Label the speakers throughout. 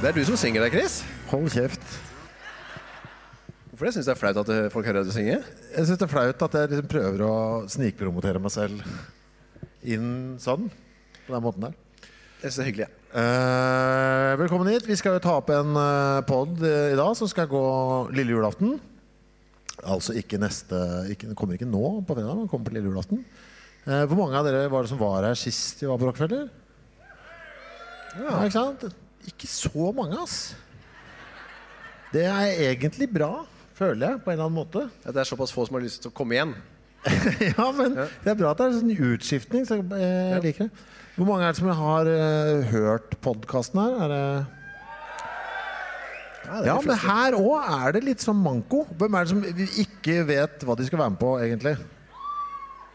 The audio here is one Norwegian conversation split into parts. Speaker 1: Det er du som synger der, Chris.
Speaker 2: Hold kjeft.
Speaker 1: Hvorfor det? Syns du det er flaut at eh, folk hører deg synge?
Speaker 2: Jeg syns det er flaut at jeg liksom prøver å snikpromotere meg selv inn sånn. På den måten der.
Speaker 1: Jeg syns det er hyggelig. jeg.
Speaker 2: Eh, velkommen hit. Vi skal jo ta opp en uh, pod i dag som skal gå lille julaften. Altså ikke neste ikke, Den kommer ikke nå på fredag, men den kommer på lille julaften. Eh, hvor mange av dere var det som var her sist vi var på Rockefeller? Ja, ikke sant? Ikke så mange, ass. Det er egentlig bra, føler jeg, på en eller annen måte.
Speaker 1: At det er såpass få som har lyst til å komme igjen.
Speaker 2: ja, men det er bra at det er sånn utskiftning. Så jeg, jeg liker det. Hvor mange er det som har eh, hørt podkasten her? Er det
Speaker 1: det er
Speaker 2: ja,
Speaker 1: de
Speaker 2: men
Speaker 1: fleste.
Speaker 2: her òg er det litt sånn manko. Hvem er det som ikke vet hva de skal være med på, egentlig?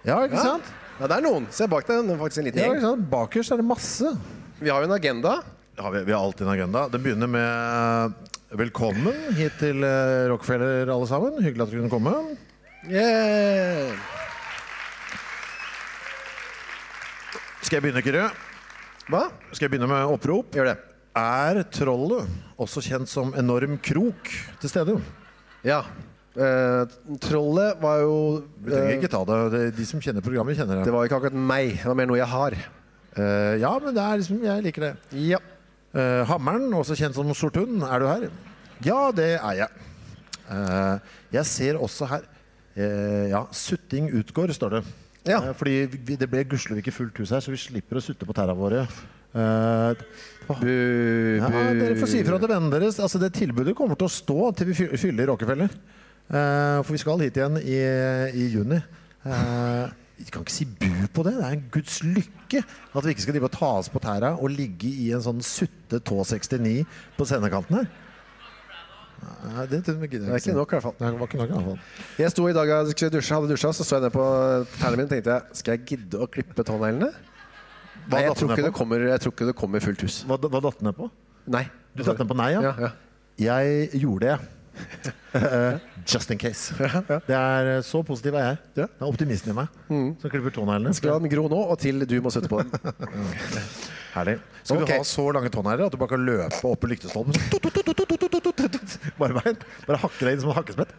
Speaker 2: Ja, ikke
Speaker 1: Ja.
Speaker 2: sant?
Speaker 1: ja, det er noen. Se bak deg. Det er faktisk en liten
Speaker 2: Ja,
Speaker 1: gjeng.
Speaker 2: ikke sant? Bakerst er det masse.
Speaker 1: Vi har jo en agenda.
Speaker 2: Ja, vi, vi har alltid en agenda. Det begynner med eh, velkommen hit til eh, Rockefeller, alle sammen. Hyggelig at du kunne komme.
Speaker 1: Yeah.
Speaker 2: Skal jeg begynne, Kyrre?
Speaker 1: Hva?
Speaker 2: Skal jeg begynne med opprop?
Speaker 1: Gjør det.
Speaker 2: Er trollet, også kjent som enorm krok, til stede?
Speaker 1: Ja. Eh, trollet var jo
Speaker 2: Vi trenger
Speaker 1: eh,
Speaker 2: ikke ta det. det er de som kjenner programmet, kjenner det.
Speaker 1: Det var jo ikke akkurat meg. Det var mer noe jeg har.
Speaker 2: Eh, ja, men det er liksom, jeg liker det.
Speaker 1: Ja.
Speaker 2: Eh, hammeren, også kjent som Sortun, er du her? Ja, det er jeg. Eh, jeg ser også her eh, Ja, sutting utgår, står det.
Speaker 1: Ja.
Speaker 2: Eh, fordi vi, det ble gudskjelov ikke fullt hus her, så vi slipper å sutte på tærne våre. Eh,
Speaker 1: Bu,
Speaker 2: Ja, dere får si ifra til vennene deres. Altså, det tilbudet kommer til å stå til vi fy- fyller Rockefeller. Eh, for vi skal hit igjen i, i juni. Eh, vi kan ikke si bu på det. Det er en guds lykke at vi ikke skal drive og ta oss på tæra og ligge i en sånn sutte tå 69 på scenekanten her. Nei, det gidder jeg ikke.
Speaker 1: Det er ikke nok, i hvert fall.
Speaker 2: Det var ikke nok, i hvert fall.
Speaker 1: Jeg sto i dag og skulle dusje, hadde dusja, så så jeg ned på tærne mine og tenkte jeg, skal jeg gidde å klippe tåneglene? Nei, jeg
Speaker 2: datt
Speaker 1: tror,
Speaker 2: den
Speaker 1: ikke
Speaker 2: ned
Speaker 1: det kommer, jeg tror ikke det kommer fullt hus.
Speaker 2: Hva, hva datt den ned på?
Speaker 1: Nei.
Speaker 2: Du datt ned på nei,
Speaker 1: Ja, ja.
Speaker 2: Jeg gjorde det. Eh, Just in case. Det er eh, så positiv er jeg. Det er optimisten i meg som klipper tåneglene.
Speaker 1: Mm. Skal la den gro nå, og til du må sette på den.
Speaker 2: Herlig. Skal
Speaker 1: Ok.
Speaker 2: du ha så lange tånegler at du bare kan løpe opp i lyktestolpen? Tut, tut, tut, tut, tut, tut, tut, tut. Bare veien. Bare hakke deg inn som en hakkespett.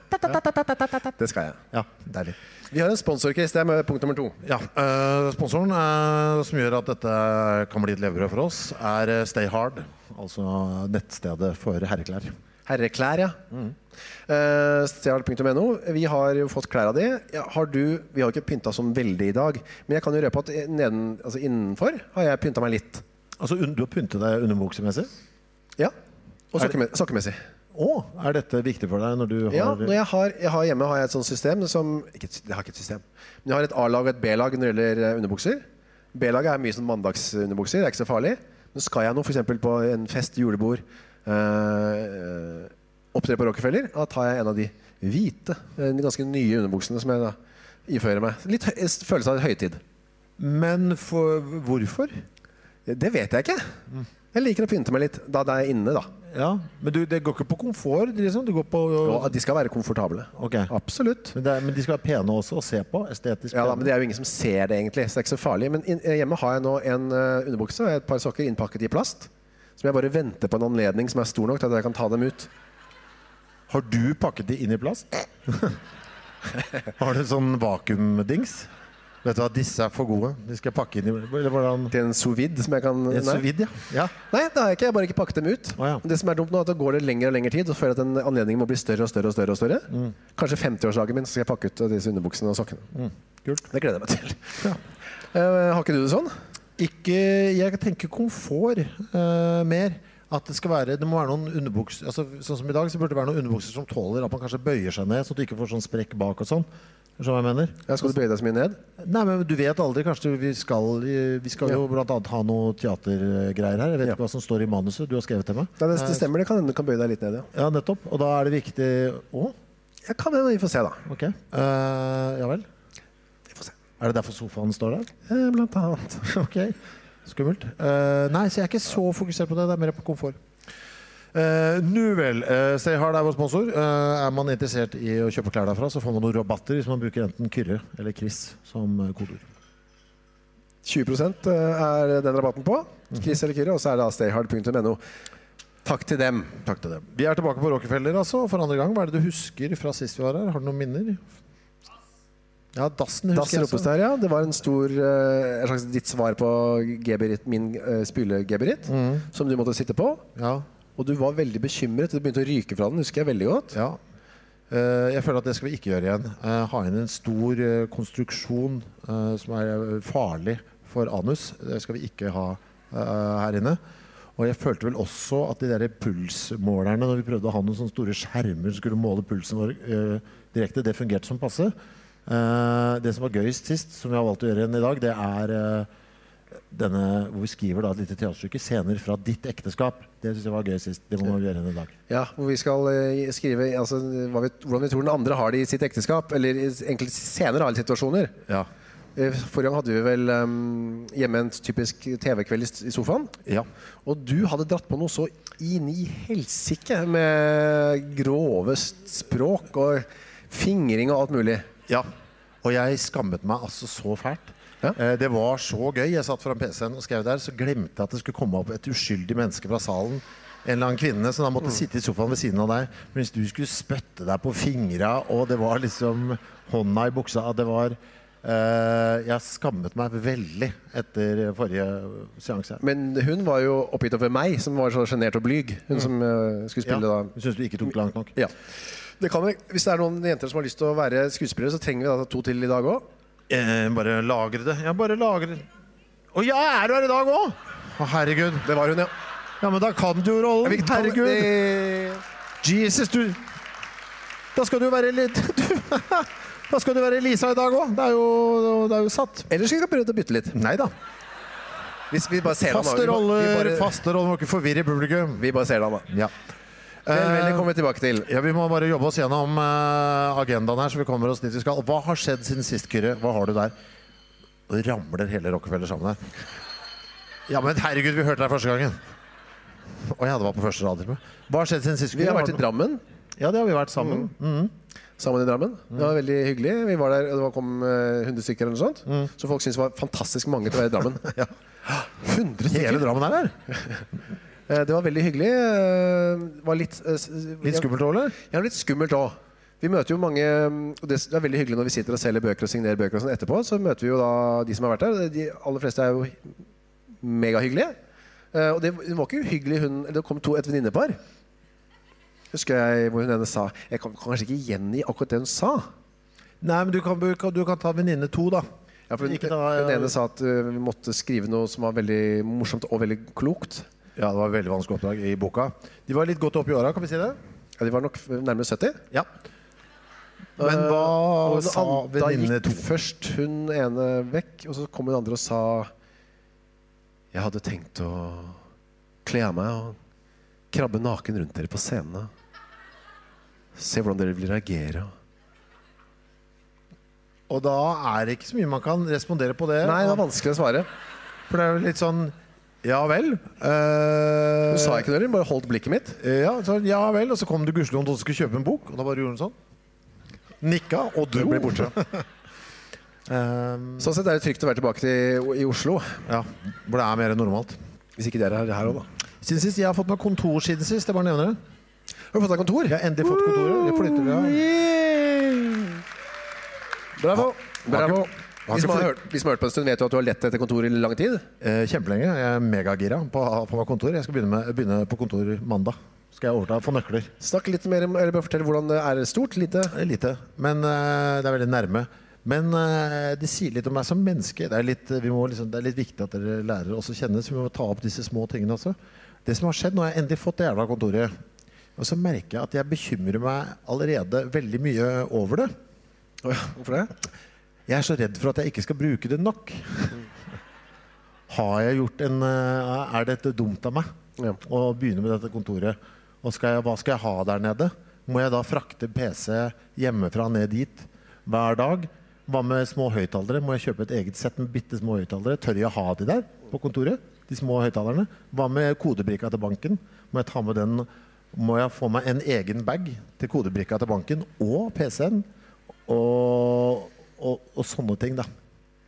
Speaker 1: Det skal jeg.
Speaker 2: Ja, deilig.
Speaker 1: Vi har en sponsor, Chris. Det er med punkt nummer to.
Speaker 2: Ja, eh, sponsoren eh, som gjør at dette kan bli et levebrød for oss, er eh, Stay Hard. Altså nettstedet for herreklær.
Speaker 1: Herreklær, ja. Eh, Stjal.no. Vi har jo fått klær av de. Ja, Har du, vi har jo ikke pynta sånn veldig i dag, men jeg kan jo røpe at neden, altså innenfor har jeg pynta meg litt.
Speaker 2: Altså, un- du har pyntet deg underbuksemessig?
Speaker 1: Ja. Og
Speaker 2: Er det-
Speaker 1: sokkeme- sokkemessig.
Speaker 2: Å, er dette viktig for deg når du har
Speaker 1: Ja, når jeg har, jeg har hjemme har jeg et sånt system som ikke, et sy- Jeg har ikke et system. Men jeg har et A-lag og et B-lag når det gjelder eh, underbukser. B-laget er mye sånn mandagsunderbukser. Det er ikke så farlig. Men skal jeg noe, f.eks. på en fest, julebord, eh, eh, opptre på Rockefeller, da tar jeg en av de hvite, eh, de ganske nye underbuksene som jeg da ifører meg. Litt hø s- følelse av høytid.
Speaker 2: Men for, hvorfor?
Speaker 1: Det vet jeg ikke. Jeg liker å pynte meg litt da det er inne, da.
Speaker 2: Ja, men du, det går ikke på komfort, liksom? Det går på
Speaker 1: Og at de skal være komfortable.
Speaker 2: Ok.
Speaker 1: Absolutt.
Speaker 2: Men, det er, men de skal være pene også å se på? Estetisk
Speaker 1: Ja, da, men
Speaker 2: pene?
Speaker 1: Det er jo ingen som ser det, egentlig. så det er ikke så farlig. Men inn- hjemme har jeg nå en eh, underbukse og et par sokker innpakket i plast. Som jeg bare venter på en anledning som er stor nok til at jeg kan ta dem ut.
Speaker 2: Har du pakket de inn i plast? har du sånn vakuumdings? Vet du hva, disse er for gode. De skal jeg pakke inn i Eller hvordan
Speaker 1: Til en sous vide som jeg kan
Speaker 2: En
Speaker 1: Nei.
Speaker 2: sous vide, ja. ja.
Speaker 1: Nei, det har jeg ikke. Jeg har bare ikke pakket dem ut.
Speaker 2: Å, ja.
Speaker 1: Det som er dumt nå, er at da går det lengre og lengre tid. Og føler jeg at den anledningen må bli større og større. og større og større.
Speaker 2: Mm.
Speaker 1: Kanskje 50-årsdagen min så skal jeg pakke ut disse underbuksene og sokkene.
Speaker 2: Kult.
Speaker 1: Det gleder jeg meg til. Eh, har ikke du det sånn?
Speaker 2: Ikke Jeg tenker komfort eh, mer. At det skal være Det må være noen underbukser altså, Sånn som i dag, så burde det være noen underbukser som tåler at man kanskje bøyer seg ned, så du ikke får sånn sprekk bak og sånn. Skjønner du hva jeg mener?
Speaker 1: Ja, skal du bøye deg så mye ned?
Speaker 2: Nei, men Du vet aldri. Kanskje vi skal, eh, vi skal jo blant annet ha noe teatergreier her. Jeg vet
Speaker 1: Ja.
Speaker 2: ikke hva som står i manuset. Du har skrevet til meg.
Speaker 1: Nei, det, det stemmer. Det kan hende du kan bøye deg litt ned, ja.
Speaker 2: Ja, nettopp. Og da er det viktig Å,
Speaker 1: Jeg kan hende vi får se, da.
Speaker 2: ok. Eh, ja vel.
Speaker 1: Vi får se.
Speaker 2: Er det derfor sofaen står der?
Speaker 1: Eh, blant annet.
Speaker 2: ok. Skummelt. Eh, nei, så jeg er ikke så fokusert på det. Det er mer på komfort. Uh, nu vel. Uh, Stay Hard er vår sponsor. Eh, er man interessert i å kjøpe klær derfra, så får man noen rabatter hvis man bruker enten Kyrre eller Chris som eh, kodeord.
Speaker 1: eh, 20 er den rabatten på. Chris eller Kyrre, og så er det da stayhard.no. Takk til dem.
Speaker 2: Takk til dem. Vi er tilbake på Rockefeller altså, for andre gang. Hva er det du husker fra sist vi var her? Har du noen minner? Ja, dassen
Speaker 1: Dass
Speaker 2: husker jeg
Speaker 1: ropes
Speaker 2: også.
Speaker 1: der, ja. Det var en stor eh, en slags ditt svar på geberitt, min uh, spylegeberitt, som du måtte sitte på.
Speaker 2: Ja,
Speaker 1: Og du var veldig bekymret. Det begynte å ryke fra den, husker jeg veldig godt.
Speaker 2: ja. Eh, jeg føler at det skal vi ikke gjøre igjen. Eh, ha inn en stor eh, konstruksjon eh, som er eh, farlig for anus. Det skal vi ikke ha eh, her inne. Og jeg følte vel også at de der pulsmålerne, når vi prøvde å ha noen sånne store skjermer som skulle måle pulsen vår eh, direkte, det fungerte som passe. Eh, det som var gøyest sist, som vi har valgt å gjøre igjen i dag, det er eh, denne, hvor vi skriver da et lite teaterstykke, 'Scener fra ditt ekteskap'. Det syns jeg var gøy sist. Det må vi gjøre igjen i dag.
Speaker 1: Ja, hvor vi skal eh, skrive altså, hva vi, hvordan vi tror den andre har det i sitt ekteskap. Eller i enkelte senere alle situasjoner.
Speaker 2: Ja.
Speaker 1: Eh, Forrige gang hadde vi vel eh, hjemme en typisk TV-kveld i s- i sofaen.
Speaker 2: Ja.
Speaker 1: Og du hadde dratt på noe så inn i helsike med grove s- språk og fingring og alt mulig.
Speaker 2: Ja. Og jeg skammet meg altså så fælt.
Speaker 1: Ja.
Speaker 2: Eh, Det var så gøy. Jeg satt foran PC-en og skrev der, så glemte jeg at det skulle komme opp et uskyldig menneske fra salen. En eller annen kvinne som da måtte
Speaker 1: Mm.
Speaker 2: sitte i sofaen ved siden av deg mens du skulle spytte deg på fingra, og det var liksom hånda i buksa. at Det var eh, Jeg skammet meg veldig etter forrige seanse.
Speaker 1: Men hun var jo oppgitt over meg, som var så sjenert og blyg. Hun som eh, skulle
Speaker 2: Mm. Ja.
Speaker 1: spille da
Speaker 2: Syns du ikke tok det langt nok?
Speaker 1: Ja. Det kan, vi- hvis det er noen jenter som har lyst til å være skuespillere, så trenger vi da to til i dag òg.
Speaker 2: Eh, bare lagre det. Jeg bare lagrer Å ja, er du her i dag òg? Å herregud.
Speaker 1: Det var hun, ja.
Speaker 2: Ja, men da kan du jo rollen.
Speaker 1: Ja, vi kan-
Speaker 2: Herregud. Jesus, du Da skal du være litt du, Da skal du være Lisa i dag òg. Det, er jo- det er jo satt.
Speaker 1: Ellers skal vi prøve å bytte litt.
Speaker 2: Nei da.
Speaker 1: Hvis vi bare ser han, da.
Speaker 2: Faste
Speaker 1: Vi må- vi
Speaker 2: roller,
Speaker 1: bare-
Speaker 2: faste roller. Må ikke forvirre publikum.
Speaker 1: Vi bare ser han, da.
Speaker 2: Ja.
Speaker 1: Eh, Vel, vel, det kommer vi tilbake til.
Speaker 2: Ja, Vi må bare jobbe oss gjennom eh, agendaen her, så vi kommer oss dit vi skal. Hva har skjedd siden sist, Kyrre? Hva har du der? Nå ramler hele Rockefeller sammen her. Ja, men herregud, vi hørte deg første gangen. Å ja, det var på første rad. til og med. Hva har skjedd siden sist?
Speaker 1: Vi har
Speaker 2: Kyrre?
Speaker 1: vært i Drammen. Mm.
Speaker 2: Ja, det har vi vært sammen. Mm.
Speaker 1: Sammen i Drammen. Det var veldig hyggelig. Vi var der, og det var- kom eh, 100 stykker eller noe sånt. Så folk syntes det var fantastisk mange til å være i Drammen.
Speaker 2: Mm. Ja.
Speaker 1: 100
Speaker 2: Hele
Speaker 1: stykker!
Speaker 2: Drammen er her.
Speaker 1: Eh, Det var veldig hyggelig. Eh, Det var litt, eh, s-
Speaker 2: Litt skummelt òg, eller?
Speaker 1: Ja, litt skummelt òg. Vi møter jo mange mm, og Det er veldig hyggelig når vi sitter og selger bøker og signerer bøker og sånn etterpå. Så møter vi jo da de som har vært der. De aller fleste er jo megahyggelige. Eh, Og det hun var ikke uhyggelig, hun Det kom to, et venninnepar. Husker jeg hvor hun ene sa Jeg kom kanskje ikke igjen i akkurat det hun sa.
Speaker 2: Nei, men du kan, du kan- du kan ta venninne to, da.
Speaker 1: Ja, for hun,
Speaker 2: Ikke ta-
Speaker 1: hun ene sa at eh, vi måtte skrive noe som var veldig morsomt og veldig klokt.
Speaker 2: Ja, det var veldig vanskelig oppdrag i boka. De var litt godt opp i åra, kan vi si det?
Speaker 1: Ja, de var nok nærmere 70.
Speaker 2: Ja. Men hva
Speaker 1: Og den
Speaker 2: Eh, sa
Speaker 1: an-
Speaker 2: venninne
Speaker 1: Da
Speaker 2: to?
Speaker 1: gikk først hun ene vekk, og så kom hun andre og sa Jeg hadde tenkt å kle av meg og krabbe naken rundt dere på scenen. Se hvordan dere vil reagere.
Speaker 2: Og da er det ikke så mye man kan respondere på det.
Speaker 1: Nei, det var vanskelig å svare.
Speaker 2: For det er jo litt sånn Ja vel. eh,
Speaker 1: Hun sa ikke noe, hun bare holdt blikket mitt.
Speaker 2: ja, sånn, ja vel. Og så kom det gudskjelov noen som skulle kjøpe en bok, og da bare gjorde hun sånn. Nikka og dro.
Speaker 1: Ble borte.
Speaker 2: Eh,
Speaker 1: Sånn sett er det trygt å være tilbake til, i Oslo.
Speaker 2: ja, hvor det er mer enn normalt.
Speaker 1: Hvis ikke dere er her òg, da.
Speaker 2: Siden sist, Jeg har fått meg kontor siden sist. Jeg bare nevner det.
Speaker 1: Har du fått deg kontor?
Speaker 2: Jeg har endelig fått kontoret. Jeg flytter det.
Speaker 1: Bravo. Bravo.
Speaker 2: Har
Speaker 1: De som
Speaker 2: ikke
Speaker 1: har
Speaker 2: flytt-
Speaker 1: hørt, de som har hørt på en stund, vet jo at du har lett etter kontor i lang tid.
Speaker 2: Eh, kjempelenge. Jeg er megagira på å få meg kontor. Jeg skal begynne, med, begynne på kontor mandag. Skal jeg overta og få nøkler.
Speaker 1: Snakk litt mer om, eller bare fortell hvordan det er stort, lite.
Speaker 2: Det er Lite, men eh, det er veldig nærme. Men eh, det sier litt om meg som menneske. Det er litt, vi må liksom, det er litt viktig at dere lærer oss å kjenne, så vi må ta opp disse små tingene også. Det som har skjedd, nå har jeg endelig fått det jævla kontoret. Og så merker jeg at jeg bekymrer meg allerede veldig mye over det.
Speaker 1: Hvorfor det?
Speaker 2: Jeg er så redd for at jeg ikke skal bruke det nok. Har jeg gjort en eh, Er dette dumt av meg
Speaker 1: Ja.
Speaker 2: å begynne med dette kontoret? Og skal jeg, hva skal jeg ha der nede? Må jeg da frakte PC hjemmefra ned dit hver dag? Hva med små høyttalere? Må jeg kjøpe et eget sett med bitte små høyttalere? Tør jeg ha de der på kontoret? De små høyttalerne? Hva med kodebrikka til banken? Må jeg ta med den? Må jeg få meg en egen bag til kodebrikka til banken og PC-en? Og, og, og sånne ting, da.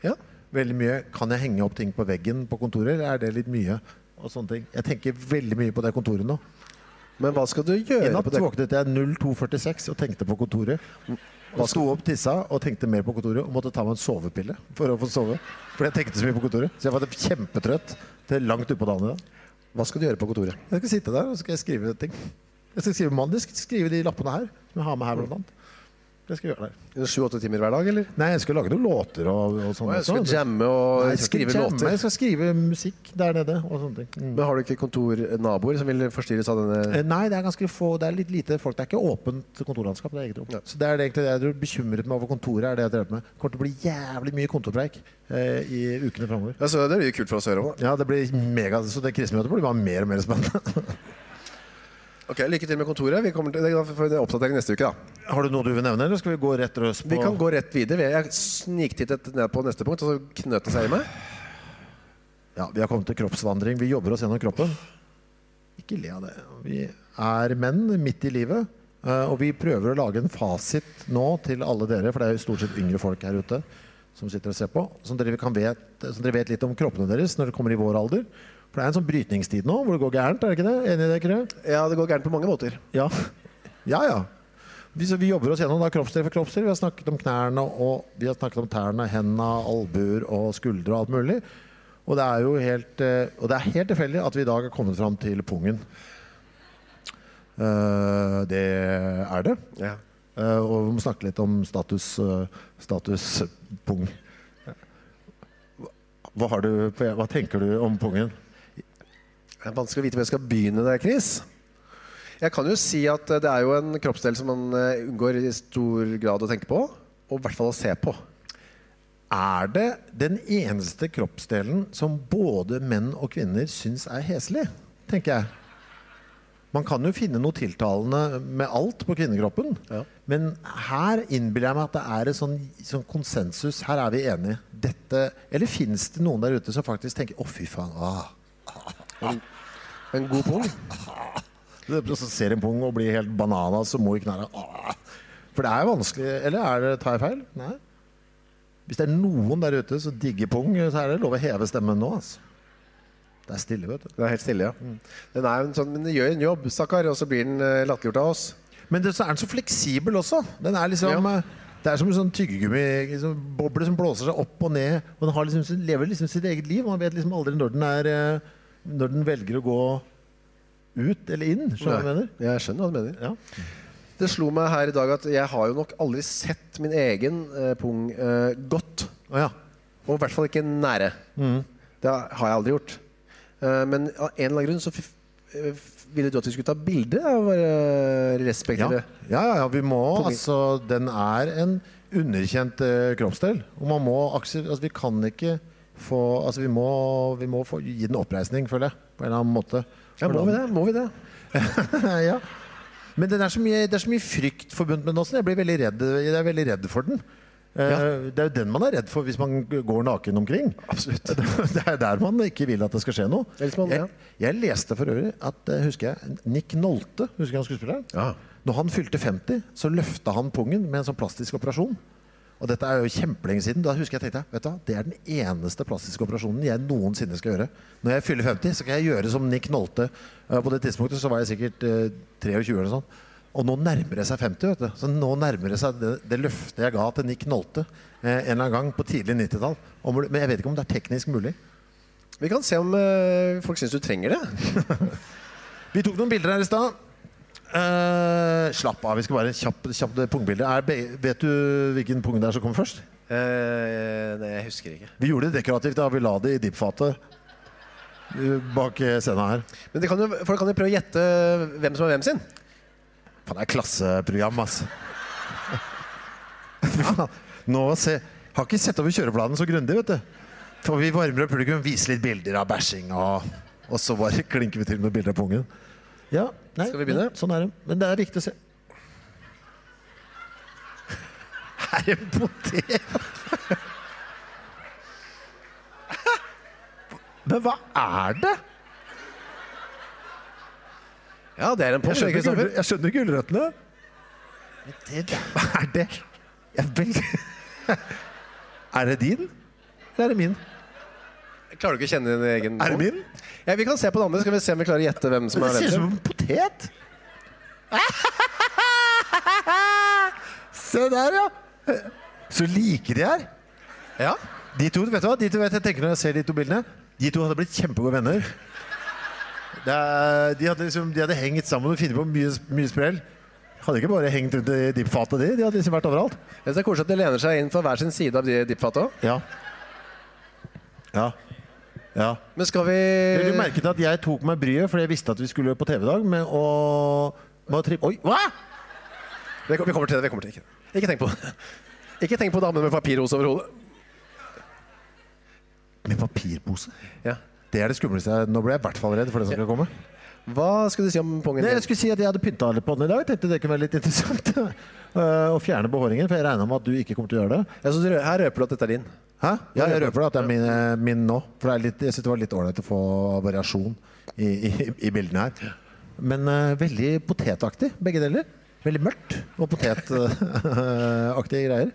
Speaker 1: Ja.
Speaker 2: Veldig mye. Kan jeg henge opp ting på veggen på kontoret, eller er det litt mye? og sånne ting. Jeg tenker veldig mye på det kontoret nå.
Speaker 1: Men hva skal du
Speaker 2: I
Speaker 1: gjøre
Speaker 2: natt
Speaker 1: på det?
Speaker 2: våknet jeg 02.46 og tenkte på kontoret. Og sto opp, tissa og tenkte mer på kontoret og måtte ta meg en sovepille for å få sove. Fordi jeg tenkte så mye på kontoret. Så jeg var kjempetrøtt til langt utpå dagen i dag.
Speaker 1: Hva skal du gjøre på kontoret?
Speaker 2: Jeg skal sitte der og så skal jeg skrive ting. Jeg skal skrive mandag, jeg skal skrive de lappene her, som jeg har med her blant annet. Det skal jeg gjøre der.
Speaker 1: Sju-åtte timer hver dag, eller?
Speaker 2: Nei, jeg skal lage noen låter og, og sånn.
Speaker 1: Jeg skal
Speaker 2: også.
Speaker 1: jamme
Speaker 2: Nei,
Speaker 1: og
Speaker 2: jeg skal ikke
Speaker 1: skrive
Speaker 2: jamme, Jeg
Speaker 1: låter.
Speaker 2: skal skrive musikk der nede og sånne ting. Mm.
Speaker 1: Men har du ikke kontornaboer som vil forstyrres av denne
Speaker 2: Eh, Nei, det er ganske få, det er litt lite folk. Det er ikke åpent kontorlandskap. Det er eget rom.
Speaker 1: Ja.
Speaker 2: Så det er det egentlig det jeg er bekymret med over kontoret. er det jeg drev med. Det kommer til å bli jævlig mye kontorpreik eh, i ukene framover.
Speaker 1: altså, Det blir jo kult for oss å høre om. da.
Speaker 2: Ja, det blir mega, så det krisemøtet blir bare mer og mer spennende.
Speaker 1: Ok, Lykke til med kontoret. Vi kommer til det er for en oppdatering neste uke. da.
Speaker 2: Har du noe du vil nevne, eller skal vi gå rett røs på
Speaker 1: Vi kan gå rett videre. Jeg sniktittet ned på neste punkt, og så knøt det seg i meg.
Speaker 2: Ja, vi har kommet til kroppsvandring. Vi jobber oss gjennom kroppen. Ikke le av det. Vi er menn midt i livet, eh, og vi prøver å lage en fasit nå til alle dere, for det er jo stort sett yngre folk her ute som sitter og ser på, som dere kan vet, som dere vet litt om kroppene deres når dere kommer i vår alder. For det er en sånn brytningstid nå hvor det går gærent, er det ikke det? Enig i det, Kyrre?
Speaker 1: Ja, det går gærent på mange måter.
Speaker 2: Ja. Ja, ja. Vi, så vi jobber oss gjennom da, kroppsdel for kroppsdel. Vi har snakket om knærne, og vi har snakket om tærne, hendene, albuer og skuldre og alt mulig. Og det er jo helt, eh, og det er helt tilfeldig at vi i dag er kommet fram til pungen. Eh, det er det.
Speaker 1: Ja.
Speaker 2: Eh, og vi må snakke litt om status, eh, status pung. Hva- Hva, har du, på- hva tenker du om pungen?
Speaker 1: Det er vanskelig å vite hvor jeg skal begynne der, Chris. Jeg kan jo si at eh, det er jo en kroppsdel som man eh, unngår i stor grad å tenke på, og i hvert fall å se på.
Speaker 2: Er det den eneste kroppsdelen som både menn og kvinner syns er heslig? Tenker jeg. Man kan jo finne noe tiltalende med alt på kvinnekroppen.
Speaker 1: Ja.
Speaker 2: Men her innbiller jeg meg at det er et sånn, sånn konsensus. Her er vi enige. Dette, eller fins det noen der ute som faktisk tenker 'Å, fy faen'. Ah.
Speaker 1: En god pung.
Speaker 2: Og så ser en pung og blir helt banana, så må i knærne ah. For det er vanskelig. Eller er det, tar jeg feil? Nei. Hvis det er noen der ute som digger pung, så er det lov å heve stemmen nå. Altså. Det er stille, vet du.
Speaker 1: Den er helt stille, ja.
Speaker 2: Mm.
Speaker 1: Den er jo en sånn, men den gjør en jobb, stakkar, og så blir den eh, latterliggjort av oss.
Speaker 2: Men det, så er den så fleksibel også. Den er liksom, eh, Det er som en sånn tyggegummi, liksom, boble som blåser seg opp og ned. Og den har liksom, sin- lever liksom sitt eget liv. og Man vet liksom aldri når den, er, eh, når den velger å gå ut eller inn. Skjønner du hva jeg mener?
Speaker 1: Jeg skjønner hva du mener.
Speaker 2: Ja.
Speaker 1: Det slo meg her i dag at jeg har jo nok aldri sett min egen eh, pung eh, godt.
Speaker 2: Å ja.
Speaker 1: Og i hvert fall ikke nære. Det har jeg aldri gjort. Eh, men av en eller annen grunn så f eh, f- ville du at vi skulle ta bilde av eh,
Speaker 2: Ja, ja,
Speaker 1: respektive
Speaker 2: ja, ja vi må
Speaker 1: På min-
Speaker 2: altså, Den er en underkjent eh, kroppsdel. Og man må akse- altså, Vi kan ikke få altså, Vi må, vi må få, gi den oppreisning, føler jeg. På en eller annen måte.
Speaker 1: Ja, må vi det? Må vi det?
Speaker 2: ja. Men den er så mye, det er så mye frykt forbundet med den også. Jeg blir veldig redd, jeg er veldig redd for den. Eh, Det er jo den man er redd for hvis man g- går naken omkring.
Speaker 1: Absolutt.
Speaker 2: Det er der man ikke vil at det skal skje noe.
Speaker 1: Ellers må man-
Speaker 2: jeg, jeg leste for øvrig at eh, husker jeg, Nick Nolte, husker jeg han skuespilleren?
Speaker 1: Ja.
Speaker 2: Når han fylte 50, så løfta han pungen med en sånn plastisk operasjon. Og dette er jo kjempelenge siden. Da husker jeg tenkte jeg, vet du, hva, Det er den eneste plastiske operasjonen jeg noensinne skal gjøre. Når jeg fyller 50, så kan jeg gjøre som Nick Nolte. Eh, På det tidspunktet så var jeg sikkert eh, 23 eller sånn. Og nå nærmer det seg 50. vet du. Så nå nærmer det seg det, det løftet jeg ga til Nick Nolte eh, en eller annen gang på tidlig 90-tall. Om- Men jeg vet ikke om det er teknisk mulig.
Speaker 1: Vi kan se om eh, folk syns du trenger det.
Speaker 2: Vi tok noen bilder her i stad. Eh, slapp av, vi skal bare kjapt kjapp pungbilde. Er be- Vet du hvilken pung det er som kommer først?
Speaker 1: Eh, nei, jeg husker ikke.
Speaker 2: Vi gjorde det dekorativt da vi la det i dipfatet eh, bak eh, scenen her.
Speaker 1: Men det kan jo, folk kan jo prøve å gjette hvem som er hvem sin.
Speaker 2: Faen, det er klasseprogram, ass. Fy faen. Nå se, har ikke sett over kjøreplanen så grundig, vet du. For vi varmer opp publikum, viser litt bilder av bæsjing, og, og så bare klinker vi til med bilder av pungen. Ja, nei,
Speaker 1: Skal vi begynne?
Speaker 2: men Sånn er det. Men det er viktig å se. Her er en potet! Men hva er det?
Speaker 1: Ja, det er en
Speaker 2: Jeg
Speaker 1: Porsche,
Speaker 2: skjønner,
Speaker 1: Kristoffer.
Speaker 2: gul- jeg skjønner gulrøttene. Hva er det? Jeg vel... Er det din? Eller er det min?
Speaker 1: Klarer du ikke å kjenne din egen
Speaker 2: Er det
Speaker 1: hånd?
Speaker 2: min?
Speaker 1: Ja, vi kan se på den andre, skal vi se om vi klarer å gjette hvem som
Speaker 2: Det
Speaker 1: er
Speaker 2: ser ut
Speaker 1: venstre.
Speaker 2: som en potet! Se der, ja! Så like de er.
Speaker 1: Ja.
Speaker 2: De to vet du hva? De to vet jeg tenker når jeg ser de to bildene. De to hadde blitt kjempegode venner. Det er, de, hadde liksom, de hadde hengt sammen og funnet på mye, mye sprell. Hadde ikke bare hengt rundt i dipfatet, de. De hadde liksom vært overalt.
Speaker 1: Jeg synes det er koselig at de lener seg inn fra hver sin side av de dipfatet også.
Speaker 2: Ja. Ja. Ja.
Speaker 1: Men skal vi
Speaker 2: Dere merket at jeg tok meg bryet fordi jeg visste at vi skulle på TV i dag med å, med å trippe Oi, hva?!
Speaker 1: Vi kom- vi kommer til det. vi kommer til det. Ikke, ikke tenk på det. Ikke tenk på damen med papirros over hodet.
Speaker 2: Med papirpose?
Speaker 1: Ja.
Speaker 2: Det er det skumleste. Nå ble jeg i hvert fall redd for det som skal komme.
Speaker 1: Hva skulle du si om pongen
Speaker 2: Nei,
Speaker 1: din?
Speaker 2: jeg skulle si at jeg hadde pynta litt på den i dag. Tenkte det kunne være litt interessant eh, å fjerne behåringen, for jeg regna med at du ikke kommer til å gjøre det.
Speaker 1: Jeg synes, du- her røper du at dette er din.
Speaker 2: Hæ? Ja, jeg røper det at det er min, eh, min nå. For det er litt, jeg syns det var litt ålreit å få variasjon i, i, i bildene her. Men eh, veldig potetaktig, begge deler. Veldig mørkt og
Speaker 1: eh,
Speaker 2: potetaktige greier.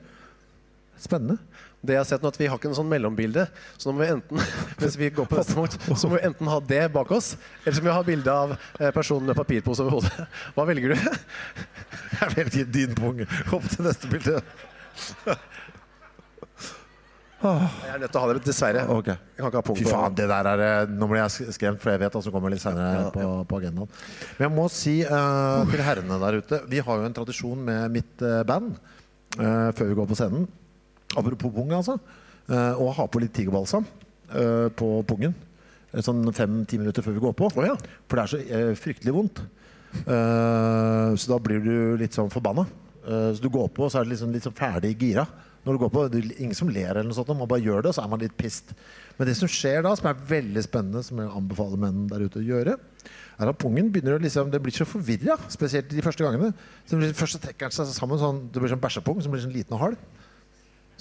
Speaker 2: Spennende.
Speaker 1: Det jeg har sett nå at Vi har ikke noe sånn mellombilde, så nå må vi enten hvis vi går på neste punkt, så må vi enten ha det bak oss, eller så må vi ha bilde av eh, personen med papirpose over hodet. Hva velger du?
Speaker 2: Jeg velger din pung. Opp til neste bilde.
Speaker 1: Jeg er nødt til å ha det, dessverre.
Speaker 2: Ok.
Speaker 1: Jeg kan ikke ha punkt
Speaker 2: Fy
Speaker 1: på-
Speaker 2: faen, det der er eh, Nå ble jeg sk- skremt, for jeg vet at som kommer litt senere på, på agendaen. Men jeg må si eh, til herrene der ute Vi har jo en tradisjon med mitt eh, band eh, før vi går på scenen. Apropos pung, altså. eh, å ha på litt tigerbalsam eh, på pungen. eh, Sånn fem-ti minutter før vi går på.
Speaker 1: Å ja.
Speaker 2: For det er så eh, fryktelig vondt. Eh, så da blir du litt sånn forbanna. Eh, så du går på, og så er det liksom litt sånn ferdig gira. Når du går på, det er Ingen som ler, eller noe sånt, man bare gjør det, og så er man litt pissed. Men det som skjer da, som er veldig spennende, som jeg anbefaler menn der ute å gjøre, er at pungen begynner å liksom Det blir så forvirra, spesielt de første gangene. Så det blir, først så trekker den seg sammen sånn Det blir sånn bæsjepung som blir sånn liten og hard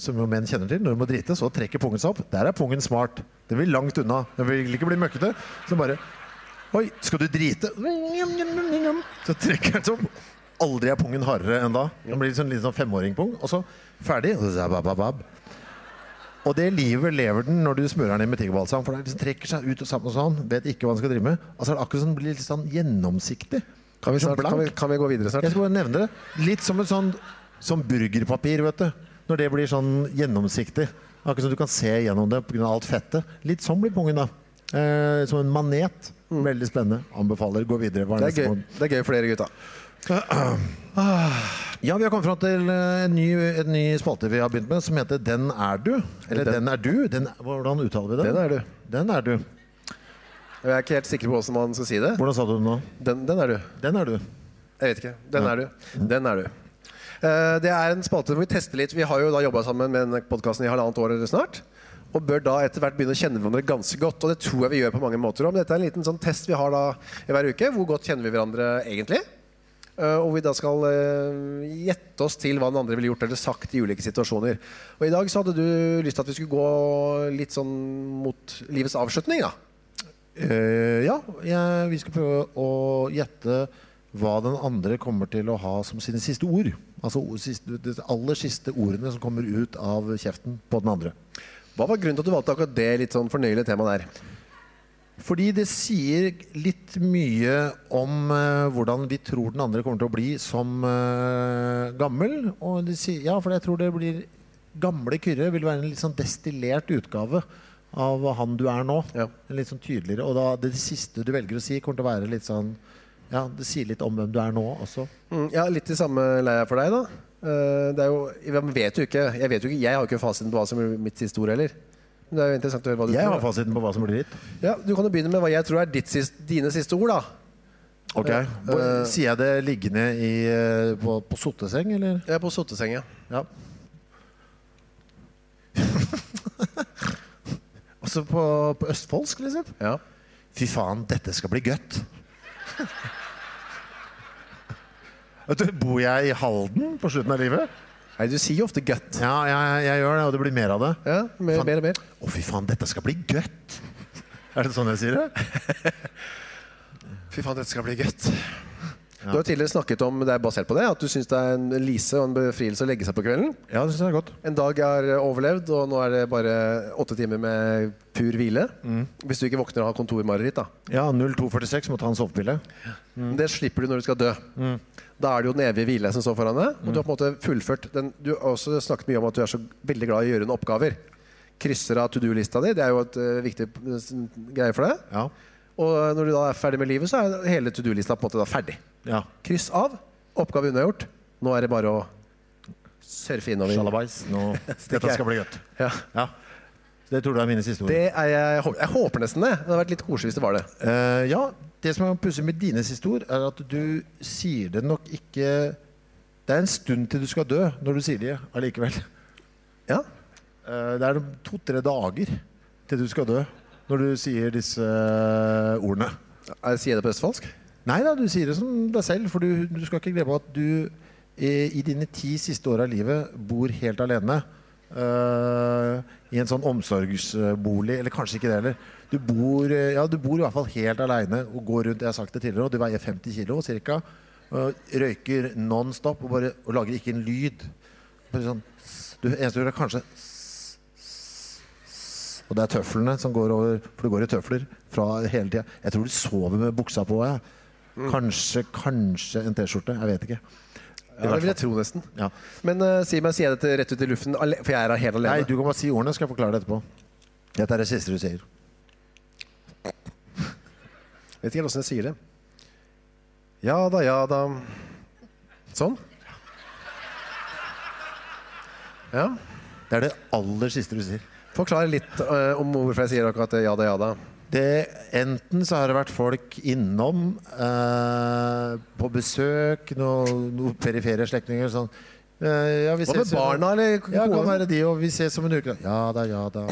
Speaker 2: som jo menn kjenner til. Når de må drite, så trekker pungen seg opp. Der er pungen smart. Den vil langt unna. Den vil ikke bli møkkete. Så bare Oi, skal du drite? Så trekker den seg opp. Aldri er pungen hardere enn da. Den blir sånn, litt sånn femåringpung. Og så ferdig. Zabababab. Og det livet lever den når du smører den inn med tigerbalsam. For den liksom trekker seg ut og sammen og sånn. Vet ikke hva den skal drive med. Og så er det akkurat som den blir litt sånn gjennomsiktig.
Speaker 1: Kan vi,
Speaker 2: Sånn
Speaker 1: snart, kan, vi,
Speaker 2: blank.
Speaker 1: kan vi gå videre snart?
Speaker 2: Jeg skal bare nevne det. Litt som et sånn som burgerpapir, vet du. Når det blir sånn gjennomsiktig. Akkurat som du kan se gjennom det pga. alt fettet. Litt sånn blir pungen, da. Eh, som en manet. Veldig spennende. Anbefaler. Gå videre. Hva er
Speaker 1: Mm.
Speaker 2: neste
Speaker 1: Det er gøy,
Speaker 2: måned?
Speaker 1: det er gøy for dere gutta.
Speaker 2: Ja, vi har kommet fram til eh, en ny, en ny spalte vi har begynt med, som heter Den er du. Eller Den,
Speaker 1: Den-
Speaker 2: er du. Den, hvordan uttaler vi det?
Speaker 1: Den er du.
Speaker 2: Den er du.
Speaker 1: Jeg er ikke helt sikker på hvordan man skal si det.
Speaker 2: Hvordan sa du det nå?
Speaker 1: Den, den er du.
Speaker 2: Den er du.
Speaker 1: Jeg vet ikke. Den er du. Den er du. Eh, Det er en spalte hvor vi tester litt. Vi har jo da jobba sammen med denne podkasten i halvannet år eller snart. Og bør da etter hvert begynne å kjenne hverandre ganske godt. Og det tror jeg vi gjør på mange måter også. Men Dette er en liten sånn test vi har da i hver uke. Hvor godt kjenner vi hverandre egentlig? Eh, Og vi da skal eh, gjette oss til hva den andre ville gjort eller sagt i ulike situasjoner. Og i dag så hadde du lyst til at vi skulle gå litt sånn mot livets avslutning, da.
Speaker 2: Eh, ja, jeg, vi skal prøve å gjette hva den andre kommer til å ha som sine siste ord. Altså ord- siste, de aller siste ordene som kommer ut av kjeften på den andre.
Speaker 1: Hva var grunnen til at du valgte akkurat det litt sånn fornøyelige temaet der?
Speaker 2: Fordi det sier litt mye om eh, hvordan vi tror den andre kommer til å bli som eh, gammel. Og det sier, ja, for jeg tror det blir Gamle Kyrre vil være en litt sånn destillert utgave av han du er nå.
Speaker 1: Ja.
Speaker 2: En Litt sånn tydeligere. Og da det siste du velger å si, kommer til å være litt sånn Ja, det sier litt om hvem du er nå også.
Speaker 1: Mm, ja, litt i samme leia for deg, da. Eh, Det er jo, jeg vet jo ikke, jeg vet jo ikke, jeg har jo ikke fasiten på hva som er mitt siste ord heller. Men det er jo interessant å høre hva du
Speaker 2: Jeg har
Speaker 1: tror.
Speaker 2: fasiten på hva som blir ditt.
Speaker 1: Ja, du kan jo begynne med hva jeg tror er ditt siste, dine siste ord, da.
Speaker 2: Ok. Hvor- sier jeg det liggende i, eh, på, på sotteseng, eller?
Speaker 1: Jeg er på sottesenga.
Speaker 2: Ja. altså på, på østfoldsk, liksom.
Speaker 1: Ja.
Speaker 2: Fy faen, dette skal bli gøtt. Vet du, bor jeg i Halden på slutten av livet?
Speaker 1: Nei, du sier jo ofte gutt.
Speaker 2: Ja, jeg, jeg gjør det, og det blir mer av det.
Speaker 1: Ja, mer,
Speaker 2: Fan.
Speaker 1: mer og mer.
Speaker 2: Å, fy faen, dette skal bli gøtt. Er det sånn jeg sier det?
Speaker 1: Fy faen, dette skal bli gutt. Du har jo tidligere snakket om det er basert på det, at du syns det er en lise og en befrielse å legge seg på kvelden.
Speaker 2: Ja, det syns jeg er godt.
Speaker 1: En dag er overlevd, og nå er det bare åtte timer med pur hvile.
Speaker 2: Mm.
Speaker 1: Hvis du ikke våkner og har kontormareritt, da.
Speaker 2: Ja, 0246 må ta en sovepille.
Speaker 1: Mm. Det slipper du når du skal dø. Da er det jo den evige hvile som står foran deg. Og du har på en måte fullført den Du har også snakket mye om at du er så veldig glad i å gjøre noen oppgaver. Krysser av to do-lista di. Det er jo et eh, viktig eh, greie for deg.
Speaker 2: Ja.
Speaker 1: Og når du da er ferdig med livet, så er hele to do-lista på en måte da ferdig.
Speaker 2: ja.
Speaker 1: Kryss av. Oppgave unnagjort. Nå er det bare å surfe innover.
Speaker 2: Sjalabais. Nå. Dette skal bli godt.
Speaker 1: Ja.
Speaker 2: Ja. Det tror du er mine siste ord.
Speaker 1: Det er jeg, jeg hå- jeg håper nesten det. Det hadde vært litt koselig hvis det var det.
Speaker 2: Eh, ja, det som er pussig med dine siste ord, er at du sier det nok ikke Det er en stund til du skal dø når du sier det allikevel.
Speaker 1: Ja.
Speaker 2: Eh, det er to-tre dager til du skal dø når du sier disse ordene.
Speaker 1: Jeg sier det på østfoldsk?
Speaker 2: Nei da, du sier det som deg selv, for du, du skal ikke glemme at du i, i dine ti siste år av livet bor helt alene. eh, I en sånn omsorgsbolig, eller kanskje ikke det heller. Du bor, eh, ja, du bor i hvert fall helt alene og går rundt, jeg har sagt det tidligere, og du veier 50 kilo cirka. og røyker non-stop og, bare- og lager ikke en lyd. Bare sånn, s- du, eneste du gjør er kanskje s- s- s- Og det er tøflene som går over, for du går i tøfler fra hele tida. Jeg tror du sover med buksa på. Jeg.
Speaker 1: Mm.
Speaker 2: Kanskje, kanskje en T-skjorte. Jeg vet ikke.
Speaker 1: Ja, det vil jeg tro nesten.
Speaker 2: Ja.
Speaker 1: Men eh, si meg, sier jeg dette rett ut i luften, ale- for jeg er her helt alene?
Speaker 2: Nei, du kan bare si ordene, skal jeg forklare det etterpå. Dette er det siste du sier.
Speaker 1: Vet ikke helt åssen jeg sier det. Ja da, ja da. Sånn? Ja.
Speaker 2: Det er det aller siste du sier.
Speaker 1: Forklar litt eh, om hvorfor jeg sier akkurat det. Ja da, ja da.
Speaker 2: Det, enten så har det vært folk innom eh, på besøk, noen noe perifere slektninger sånn. Eh, ja, vi
Speaker 1: Hva med
Speaker 2: ses jo-
Speaker 1: barna eller
Speaker 2: Ja, kan
Speaker 1: kona?
Speaker 2: være de, og vi ses om en uke. da. Ja da, ja da.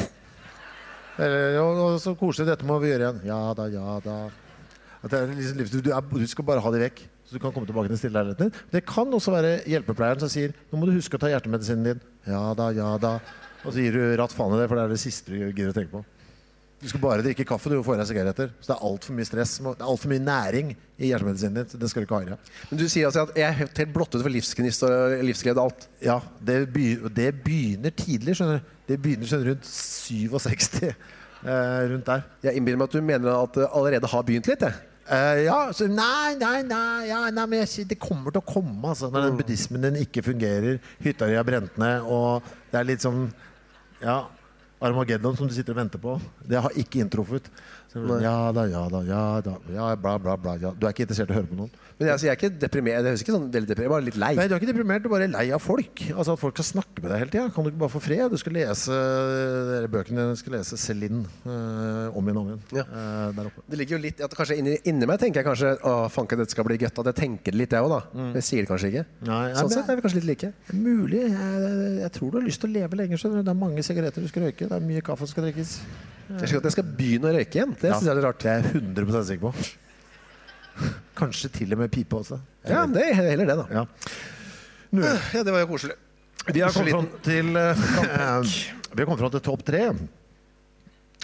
Speaker 2: Eller, og, og så koselig, dette må vi gjøre igjen. Ja da, ja da. At det er liksom, livs- du, du, er, du skal bare ha de vekk, så du kan komme tilbake til stilleleiligheten din. Det kan også være hjelpepleieren som sier nå må du huske å ta hjertemedisinen din. Ja da, ja da. Og så gir du ratt faen i det, for det er det siste du gidder å tenke på. Du skal bare drikke kaffe du og få i deg sigaretter. Så det er altfor mye stress. Det er altfor mye næring i hjertemedisinen din. så Den skal du ikke ha i deg.
Speaker 1: Men du sier altså at jeg er helt helt blottet for livsgnist og eh, livsglede og alt.
Speaker 2: Ja, det, begy- og det begynner tidlig, skjønner du. Det begynner sånn rundt 67, eh, rundt der.
Speaker 1: Jeg innbiller meg at du mener at det allerede har begynt litt. Jeg.
Speaker 2: Eh, ja, så nei, nei, nei, ja, nei men jeg, sier det kommer til å komme, altså. Når den buddhismen din ikke fungerer, hytta di er brent ned, og det er litt sånn, ja, Armageddon som du sitter og venter på. Det har ikke inntruffet. Så det blir sånn, Ja da, ja da, ja da, ja, bla, bla, bla. Ja. Du er ikke interessert i å høre på noen.
Speaker 1: Men jeg, altså, jeg er ikke deprimert. Det høres ikke sånn veldig deprimert, bare litt lei.
Speaker 2: Nei, du er ikke deprimert, du er bare lei av folk. Altså At folk skal snakke med deg hele tida. Kan du ikke bare få fred? Du skal lese dere bøkene dine, du skal lese Celine eh, om igjen og om igjen.
Speaker 1: Ja.
Speaker 2: eh, der oppe.
Speaker 1: Det ligger jo litt at kanskje inni, inni meg tenker jeg kanskje Å, fanken, dette skal bli gøtt. At jeg tenker det litt, jeg òg, da. Men jeg sier det kanskje ikke.
Speaker 2: Mm. Nei, nei,
Speaker 1: sånn
Speaker 2: men-
Speaker 1: sett er vi kanskje litt like.
Speaker 2: Det er Mulig. Jeg, jeg tror du har lyst til å leve lenger. skjønner du. Det er mange sigaretter du skal røyke. Det er mye kaffe som skal drikkes.
Speaker 1: Jeg skjønner at jeg skal begynne å røyke igjen. Det synes jeg er litt rart.
Speaker 2: Det er jeg 100 sikker på. Kanskje til og med pipe også.
Speaker 1: Ja, men det er heller det, da.
Speaker 2: Ja.
Speaker 1: Ja, det var jo koselig.
Speaker 2: Vi har kommet
Speaker 1: Sliten.
Speaker 2: fram til eh, Vi har kommet fram til topp tre.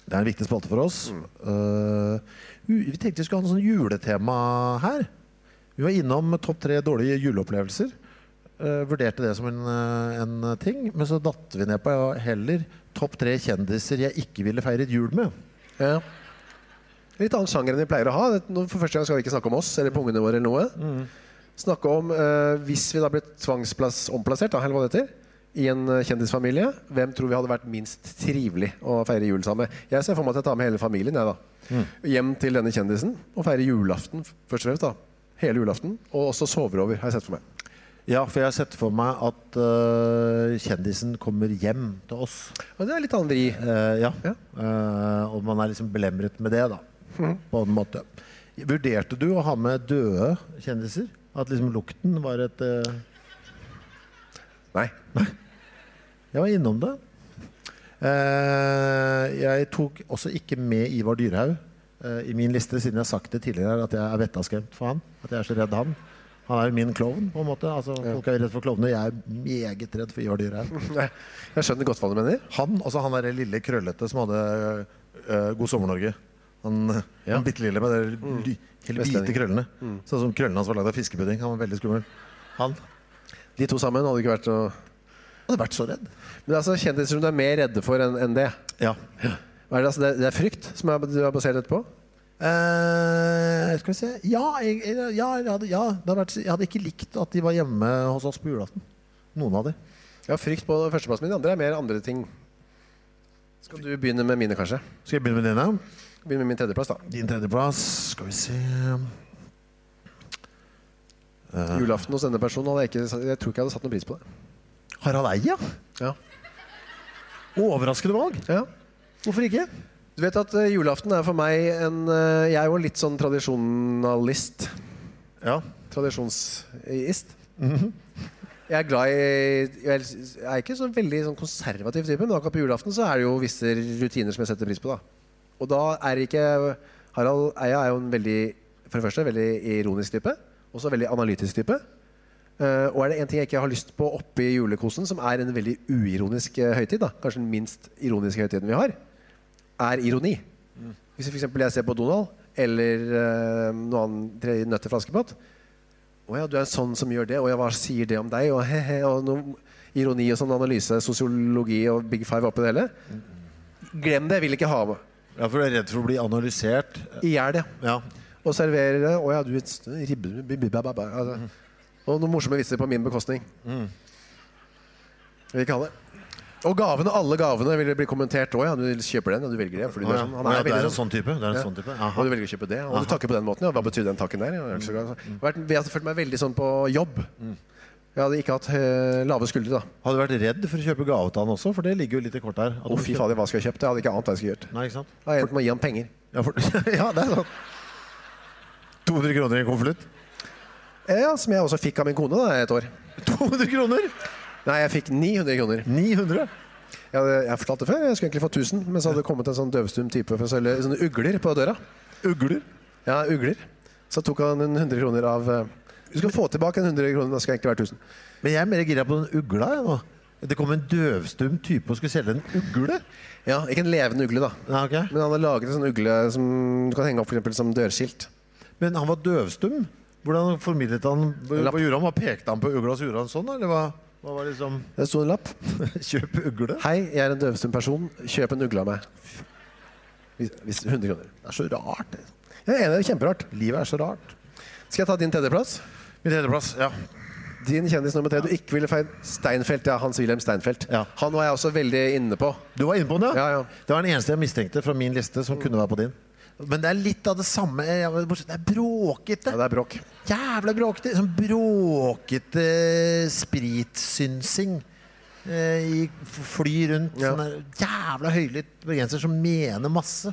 Speaker 2: Det er en viktig spalte for oss. Eh, u- vi tenkte vi skulle ha noe sånn juletema her. Vi var innom topp tre dårlige juleopplevelser. Eh, vurderte det som en, eh, en ting, men så datt vi ned på ja, heller topp tre kjendiser jeg ikke ville feiret jul med.
Speaker 1: Ja. Litt annen sjanger enn vi pleier å ha. Det- nå For første gang skal vi ikke snakke om oss eller på ungene våre. eller noe Snakke om eh, hvis vi da ble tvangsplass, omplassert da, eller hva det heter, i en eh, kjendisfamilie, hvem tror vi hadde vært minst trivelig å feire jul sammen med? Jeg ser for meg at jeg tar med hele familien jeg, da. hjem til denne kjendisen og feirer julaften først og fremst. da Hele julaften. Og også sover over, har jeg sett for meg.
Speaker 2: Ja, for jeg har sett for meg at eh, kjendisen kommer hjem til oss.
Speaker 1: Og det er litt annen vri.
Speaker 2: Eh, ja.
Speaker 1: Ja.
Speaker 2: Eh, og man er liksom belemret med det, da. På en måte. Vurderte du å ha med døde kjendiser? At liksom lukten var et eh,
Speaker 1: Nei.
Speaker 2: Jeg var innom det. Eh, jeg tok også ikke med Ivar Dyrhaug eh, i min liste, siden jeg har sagt det tidligere her, at jeg er vettaskremt for han. At jeg er så redd han. Han er jo min klovn, på en måte. Altså, Folk er jo redd for klovner. Jeg er meget redd for Ivar Dyrhaug.
Speaker 1: Nei. Jeg skjønner godt hva du mener.
Speaker 2: Han, altså han der lille krøllete som hadde eh, God sommer Norge. Han, han bitte lille med de ly- helt
Speaker 1: Vestlending.
Speaker 2: hvite krøllene. Sånn som krøllene hans var lagd av fiskepudding. Han var veldig skummel. Han
Speaker 1: De to sammen hadde ikke vært noe
Speaker 2: hadde vært så redd.
Speaker 1: Men det er altså kjendiser som du er mer redde for enn enn det.
Speaker 2: Ja.
Speaker 1: Hva Er det, altså, det, er, det er frykt som er, du har basert dette på?
Speaker 2: Eh, skal vi se Ja, jeg, jeg- ja, jeg, hadde, ja det hadde vært, jeg hadde ikke likt at de var hjemme hos oss på julaften. Noen av de.
Speaker 1: Ja, frykt på førsteplassen min. Det andre er mer andre ting. Skal du begynne med mine, kanskje?
Speaker 2: Skal jeg begynne med dine?
Speaker 1: Begynne med min tredjeplass, da.
Speaker 2: Din tredjeplass. Skal vi se
Speaker 1: Julaften hos denne personen hadde jeg ikke Jeg tror ikke jeg hadde satt noen pris på det.
Speaker 2: Harald Eia.
Speaker 1: Ja.
Speaker 2: Overraskende valg.
Speaker 1: ja.
Speaker 2: Hvorfor ikke?
Speaker 1: Du vet at eh, julaften er for meg en eh, Jeg er jo litt sånn tradisjonalist.
Speaker 2: Ja.
Speaker 1: Tradisjonsist. Jeg er glad i Jeg er ikke så veldig sånn konservativ type, men akkurat på julaften så er det jo visse rutiner som jeg setter pris på. da. Og da er det ikke Harald Eia er jo en veldig for det første, veldig ironisk type. Også veldig analytisk type. Eh, og er det én ting jeg ikke har lyst på oppe i julekosen, som er en veldig uironisk eh, høytid, da, kanskje den minst ironiske høytiden vi har, er ironi. Hvis for eksempel jeg ser på Donald eller eh, noe annet tredje nøtt til flaskepott Å ja, du er sånn som gjør det, og ja, hva sier det om deg? Og he-he, og noe ironi og sånn analyse, sosiologi og big five oppi det hele. Glem det, jeg vil ikke ha med.
Speaker 2: ja, for du er redd for å bli analysert.
Speaker 1: I hjel det.
Speaker 2: Ja.
Speaker 1: Og serverer det. Å ja, du vet ribbe, bi- bi- ba- ba- ba- altså. Og noen morsomme vitser på min bekostning. Vil ikke ha det. Og gavene, alle gavene vil bli kommentert. Å ja, du kjøper den, ja, du velger det. Fordi du er sånn. Han
Speaker 2: Å ja,
Speaker 1: er
Speaker 2: det
Speaker 1: veldig
Speaker 2: er
Speaker 1: sånn.
Speaker 2: en sånn type. Det er en
Speaker 1: Ja.
Speaker 2: sånn type.
Speaker 1: Og
Speaker 2: Aha.
Speaker 1: du velger å kjøpe det. Og du takker på den måten. Ja. Hva betydde den takken der? Jeg har ikke så glad. Jeg har vært- jeg har følt meg veldig sånn på jobb. Jeg hadde ikke hatt eh, lave skuldre da.
Speaker 2: Har du vært redd for å kjøpe gave til han også? For det ligger jo litt i kortet her. At du
Speaker 1: Å fy
Speaker 2: kjøper-
Speaker 1: fader, hva skal jeg kjøpe? Jeg hadde ikke ant hva jeg skulle gjort.
Speaker 2: Nei, ikke sant?
Speaker 1: Jeg endte med å gi ham penger.
Speaker 2: Ja, for, ja, det er sant. 200 kroner i en konvolutt.
Speaker 1: Eh, Ja, som jeg også fikk av min kone da, et år.
Speaker 2: 200 kroner?
Speaker 1: Nei, jeg fikk 900 kroner.
Speaker 2: 900?
Speaker 1: Jeg, hadde, jeg har fortalt det før, jeg skulle egentlig få 1000, men så hadde det kommet en sånn døvstum type for å selge sånne ugler på døra.
Speaker 2: Ugler?
Speaker 1: Ja, ugler. Så tok han en 100 kroner av eh, Du skal få tilbake en 100 kroner, det skal egentlig være 1000.
Speaker 2: Men jeg er mer gira på den ugla. Jeg, nå. Det kom en døvstum type og skulle selge en ugle.
Speaker 1: Ja, ikke en levende ugle, da.
Speaker 2: Nei, ok.
Speaker 1: Men han hadde laget en sånn ugle som du kan henge opp for eksempel, som dørskilt.
Speaker 2: Men han var døvstum. Hvordan formidlet han Hva
Speaker 1: Lapp.
Speaker 2: gjorde han? Hva Pekte han på ugla, så gjorde han sånn? Eller hva, hva var liksom
Speaker 1: Det sto en lapp.
Speaker 2: Kjøp ugle?
Speaker 1: Hei, jeg er en døvstum person. Kjøp en ugle av meg. Hvis, hvis 100 kroner.
Speaker 2: Det er så rart. det.
Speaker 1: Jeg er enig, det er kjemperart.
Speaker 2: Livet er så rart.
Speaker 1: Skal jeg ta din tredjeplass?
Speaker 2: Min tredjeplass. Ja.
Speaker 1: Din kjendis nummer tre du ikke ville feil. Steinfeld. Ja, Hans-Wilhelm Steinfeld.
Speaker 2: Ja.
Speaker 1: Han var jeg også veldig inne på.
Speaker 2: Du var inne på den, ja?
Speaker 1: Ja, ja.
Speaker 2: Det var den eneste jeg mistenkte fra min liste som kunne være på din. Men det er litt av det samme. jeg- Det er bråkete.
Speaker 1: Ja, det er bråk.
Speaker 2: Jævla bråkete. Sånn bråkete eh, spritsynsing. eh, I f- fly rundt.
Speaker 1: Ja.
Speaker 2: Sånn der jævla høylytt bergenser som mener masse.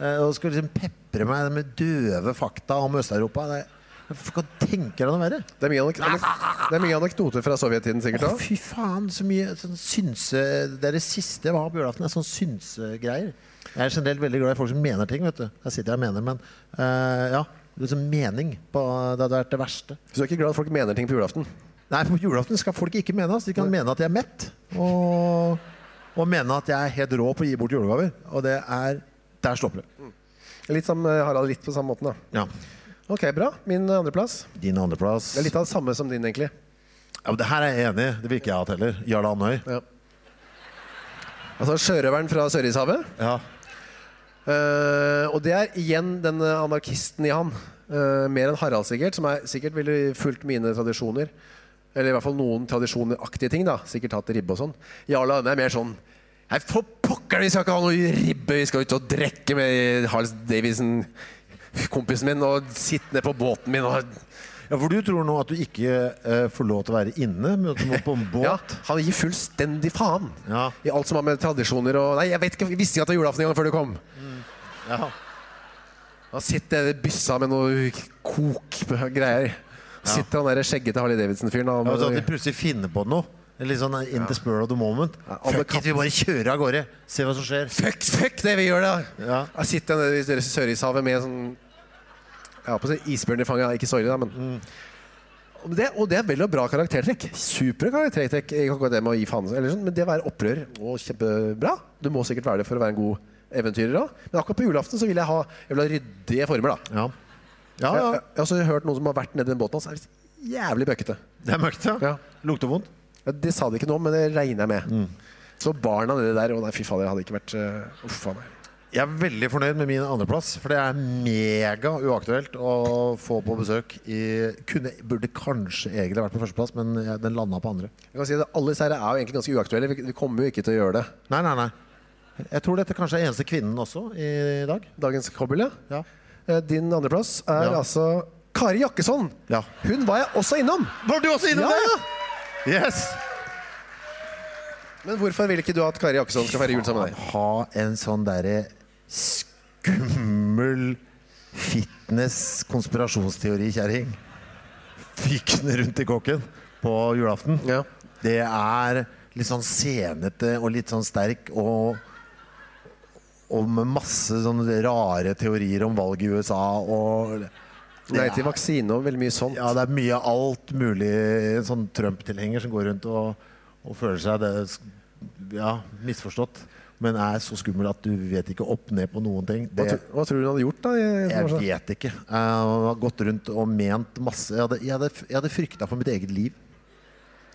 Speaker 2: Eh, Og skal liksom pepre meg med døve fakta om Øst-Europa. Det er- Hva tenker han å være?
Speaker 1: Det er mye, anek anek- det er mye anekdoter fra sovjettiden sikkert
Speaker 2: Å,
Speaker 1: òg.
Speaker 2: fy faen, så mye sånn synse Det er det siste jeg vil ha på julaften. Det er sånn synsegreier. Jeg er generelt veldig glad i folk som mener ting, vet du. Jeg sitter jeg og mener, men eh, ja. Liksom mening på Det hadde vært det verste.
Speaker 1: Så du er ikke glad at folk mener ting på julaften?
Speaker 2: Nei, på julaften skal folk ikke mene oss. De kan mene at jeg er mett, og, og mene at jeg er helt rå på å gi bort julegaver. Og det er Der stopper det.
Speaker 1: Litt som eh, Harald, litt på samme måten, da.
Speaker 2: Ja.
Speaker 1: Ok, bra. Min eh, andreplass.
Speaker 2: Din andreplass
Speaker 1: Det er litt av det samme som din, egentlig.
Speaker 2: ja, men Det her er jeg enig i. Det vil ikke jeg ha hatt heller. Jarle Andøy.
Speaker 1: Ja. Altså sjørøveren fra Sørishavet.
Speaker 2: Ja.
Speaker 1: Eh, og det er igjen den eh, anarkisten i han. Eh, mer enn Harald, sikkert, som er, sikkert ville fulgt mine tradisjoner. Eller i hvert fall noen tradisjoneraktige ting. da Sikkert hatt ribbe og sånn. Jarla Ønne er mer sånn Nei, for pokker, vi skal ikke ha noe ribbe! Vi skal ut og drikke med Harls Davison, kompisen min, og sitte ned på båten min og
Speaker 2: ja, For du tror nå at du ikke eh, får lov til å være inne, men at du må på en båt?
Speaker 1: Ja, han gir fullstendig faen
Speaker 2: Ja.
Speaker 1: i alt som har med tradisjoner og Nei, jeg vet ikke, jeg visste ikke at det var julaften engang før du kom.
Speaker 2: Ja.
Speaker 1: Han sitter i byssa med noe kokgreier. Sitter han der skjeggete Harley Davidson-fyren og
Speaker 2: Ja, så at de plutselig finner på noe. Litt sånn eh, in the spur of the moment.
Speaker 1: alle
Speaker 2: Fuck it, vi bare kjører av gårde. Se hva som skjer.
Speaker 1: Fuck, fuck det vi gjør, da!
Speaker 2: Ja.
Speaker 1: Jeg sitter han nede i Sørishavet med sånn Jeg har på å si isbjørn i fanget, ja, ikke sorry, da, men
Speaker 2: Mm.
Speaker 1: Og det, og det er vel og bra karaktertrekk. Supre karaktertrekk. Ikke akkurat det med å gi faen, eller sånn, men det å være opprører og kjempebra. Du må sikkert være det for å være en god eventyrer også. Men akkurat på julaften så vil jeg ha, jeg vil ha ryddige former. da.
Speaker 2: Ja. Ja,
Speaker 1: Jeg,
Speaker 2: ja.
Speaker 1: jeg, har også hørt noen som har vært nedi den båten hans. er Jævlig bøkkete.
Speaker 2: Det er mørkt, ja.
Speaker 1: Ja.
Speaker 2: Lukter vondt.
Speaker 1: Ja, Det sa de ikke noe om, men det regner jeg med. Så barna nedi der Å nei, fy fader, jeg hadde ikke vært eh, Uff a meg.
Speaker 2: Jeg er veldig fornøyd med min andreplass, for det er mega uaktuelt å få på besøk i kunne, Burde kanskje egentlig vært på førsteplass, men jeg, den landa på andre.
Speaker 1: Jeg kan si at Alle disse her er jo egentlig ganske uaktuelle. Vi, vi kommer jo ikke til å gjøre det.
Speaker 2: Nei, nei, nei. Jeg tror dette kanskje er eneste kvinnen også i dag.
Speaker 1: Dagens kobbel, ja.
Speaker 2: Ja.
Speaker 1: Eh, Din andreplass er
Speaker 2: Ja.
Speaker 1: altså Kari Jakkesson.
Speaker 2: Ja.
Speaker 1: Hun var jeg også innom.
Speaker 2: Var du også
Speaker 1: Ja, ja.
Speaker 2: Yes!
Speaker 1: Men hvorfor vil ikke du at Kari Jakkesson skal feire jul sammen med deg?
Speaker 2: Ha en sånn derre skummel fitness-konspirasjonsteori-kjerring fykende rundt i kåken på julaften.
Speaker 1: Ja.
Speaker 2: Det er litt sånn senete og litt sånn sterk og og med masse sånne rare teorier om valget i USA og Det
Speaker 1: Nei
Speaker 2: er-
Speaker 1: til vaksine og veldig mye sånn. sånt.
Speaker 2: Ja, det er mye av alt mulig En sånn Trump-tilhenger som går rundt og, og føler seg det, ja, misforstått, men er så skummel at du vet ikke opp ned på noen ting.
Speaker 1: Hva,
Speaker 2: Det,
Speaker 1: tro- hva tror du hun hadde gjort, da?
Speaker 2: jeg
Speaker 1: i-
Speaker 2: vet ikke. Jeg har gått rundt og ment masse. Jeg hadde, jeg hadde, jeg hadde frykta for mitt eget liv.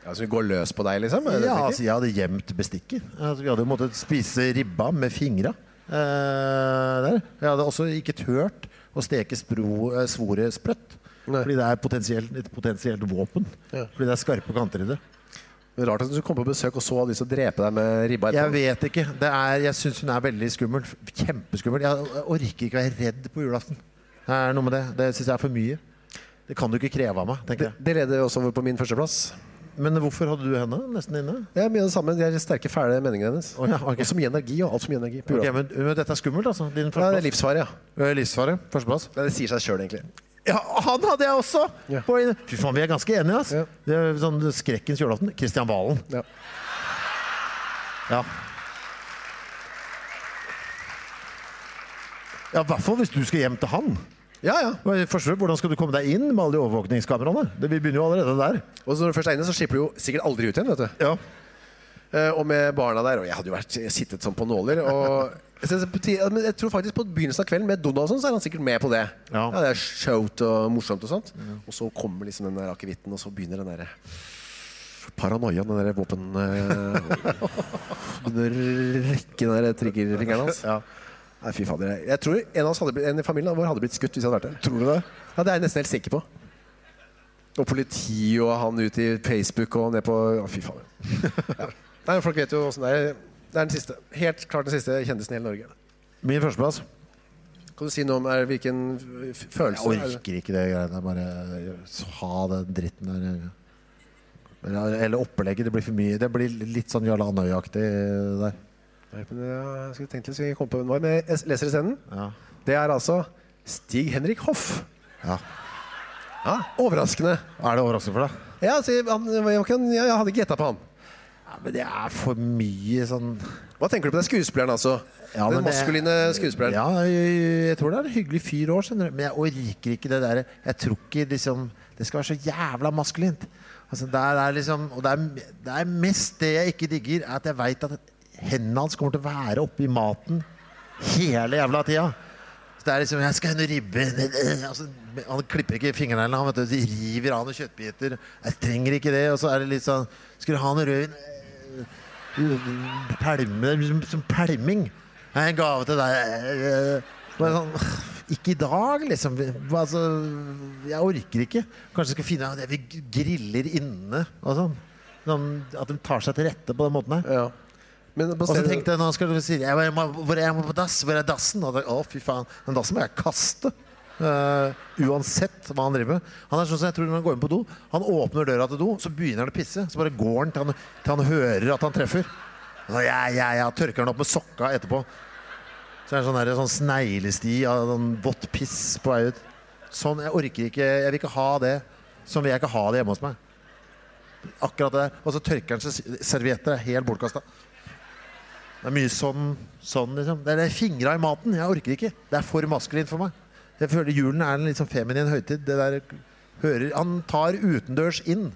Speaker 1: Ja, så Altså, hun går løs på deg, liksom? Er det det
Speaker 2: Ja,
Speaker 1: du
Speaker 2: altså,
Speaker 1: tenker?
Speaker 2: jeg hadde gjemt bestikket. Altså, vi hadde jo måttet spise ribba med fingra. Eh, der. Jeg hadde også ikke tørt å steke spro, eh, svoret sprøtt.
Speaker 1: Nei.
Speaker 2: Fordi det er potensielt, et potensielt våpen.
Speaker 1: Ja.
Speaker 2: Fordi det er skarpe kanter i det.
Speaker 1: Men altså, Rart at hun skulle komme på besøk og så hadde lyst til å drepe deg med ribba.
Speaker 2: Jeg
Speaker 1: etterpå.
Speaker 2: vet ikke. Det er, jeg syns hun er veldig skummel. Kjempeskummel. Jeg jeg orker ikke å være redd på julaften. Det er noe med det. Det syns jeg er for mye. Det kan du ikke kreve av meg, tenker jeg.
Speaker 1: Det leder oss over på min førsteplass.
Speaker 2: Men hvorfor hadde du henne nesten inne?
Speaker 1: Det er mye av det samme. De er sterke, fæle meningene hennes.
Speaker 2: Å ja, ok.
Speaker 1: Og så mye energi. og alt som gir energi. på
Speaker 2: Ok,
Speaker 1: julaften.
Speaker 2: men, men dette er skummelt, altså? Din
Speaker 1: ja, det er
Speaker 2: førsteplass?
Speaker 1: livsfare, ja.
Speaker 2: Eh, Livsfare? Førsteplass?
Speaker 1: Nei, det sier seg sjøl, egentlig.
Speaker 2: Ja, han hadde jeg også!
Speaker 1: Ja.
Speaker 2: På, fy faen, vi er ganske enige, ass.
Speaker 1: Ja.
Speaker 2: Det er sånn skrekkens julaften. Kristian Valen.
Speaker 1: Ja.
Speaker 2: Ja. Ja, I hvert fall hvis du skal hjem til han.
Speaker 1: ja, ja.
Speaker 2: Første, hvordan skal du komme deg inn med alle de overvåkningskameraene? Det, vi begynner jo allerede der.
Speaker 1: Og så når du først er inne, så slipper du jo sikkert aldri ut igjen. vet du.
Speaker 2: Ja.
Speaker 1: Eh, Og med barna der. Og jeg hadde jo vært jeg sittet sånn på nåler. og... Jeg synes på ti- ja, men jeg tror faktisk på begynnelsen av kvelden med Donald og sånn, så er han sikkert med på det.
Speaker 2: Ja.
Speaker 1: det er showt og morsomt og sånt. Og så kommer liksom den der akevitten, og så begynner den derre paranoiaen, den derre våpen... eh, Begynner å rekke den der triggerfingeren hans.
Speaker 2: Ja.
Speaker 1: Nei, fy fader. jeg- Jeg tror en av oss hadde blitt, en i familien vår hadde blitt skutt hvis jeg hadde vært der.
Speaker 2: Tror du det?
Speaker 1: Ja, det er jeg nesten helt sikker på. Og politi og han ut i Facebook og ned på Å, fy faen. Ja. Nei, folk vet jo åssen det er. Det er den siste. Helt klart den siste kjendisen i hele Norge.
Speaker 2: Min førsteplass.
Speaker 1: Kan du si noe om er, hvilken f- følelse
Speaker 2: Jeg
Speaker 1: er det?
Speaker 2: orker ikke det greiene. Bare ha den dritten der. Eller- Eller opplegget. Det blir for mye. Det blir litt sånn Jarle Andøya-aktig der.
Speaker 1: Nei, men Jeg skulle tenkt litt, så jeg kom på hvem det var, men jeg leser isteden.
Speaker 2: Ja.
Speaker 1: Det er altså Stig-Henrik Hoff.
Speaker 2: ja.
Speaker 1: Ja, Overraskende.
Speaker 2: Er det overraskende for deg?
Speaker 1: Ja, altså, han, jeg, var ikke- jeg hadde ikke gjetta på han.
Speaker 2: Ja, men det er for mye sånn
Speaker 1: Hva tenker du på den skuespilleren, altså?
Speaker 2: Ja, men
Speaker 1: den
Speaker 2: det-
Speaker 1: maskuline skuespilleren.
Speaker 2: Ja, jeg, jeg tror det er en hyggelig fyr òg, skjønner du. Men jeg orker ikke det derre Jeg tror ikke liksom Det skal være så jævla maskulint. Altså, det er, det er liksom Og det er, det er mest det jeg ikke digger, er at jeg veit at hendene hans kommer til å være oppi maten hele jævla tida. Så det er liksom 'Jeg skal ha noe ribbe' altså, Han klipper ikke fingerneglene, han vet du, de river av noen kjøttbiter. Jeg trenger ikke det. Og så er det litt sånn 'Skulle du ha noe rødvin?' Pelme, liksom, som pelming. Det er en gave til deg. Eh, Bare sånn, ikke i dag, liksom. Altså, jeg orker ikke. Kanskje jeg skal finne at vi griller inne og sånn. sånn. At de tar seg til rette på den måten her.
Speaker 1: Ja. Men
Speaker 2: Og så
Speaker 1: baserer-
Speaker 2: tenkte jeg, nå skal du si jeg må, Hvor er jeg må på dass? Hvor er dassen? Og da, å, fy faen. Den dassen må jeg kaste. Eh, uansett hva han driver med. Han er sånn som jeg tror når han går inn på do. Han åpner døra til do, så begynner han å pisse. Så bare går han til han, til han hører at han treffer. Og ja, ja, ja, tørker han opp med sokka etterpå. Så er det sånn, der, sånn sneglesti av sånn vått piss på vei ut. Sånn, jeg orker ikke, jeg vil ikke ha det. Sånn vil jeg ikke ha det hjemme hos meg. Akkurat det der. Og så tørker han seg, servietter er helt bortkasta. Det er mye sånn, sånn liksom. Det er det fingra i maten. Jeg orker ikke. Det er for maskulint for meg. Jeg føler julen er en litt sånn feminin høytid. Det der hører Han tar utendørs inn.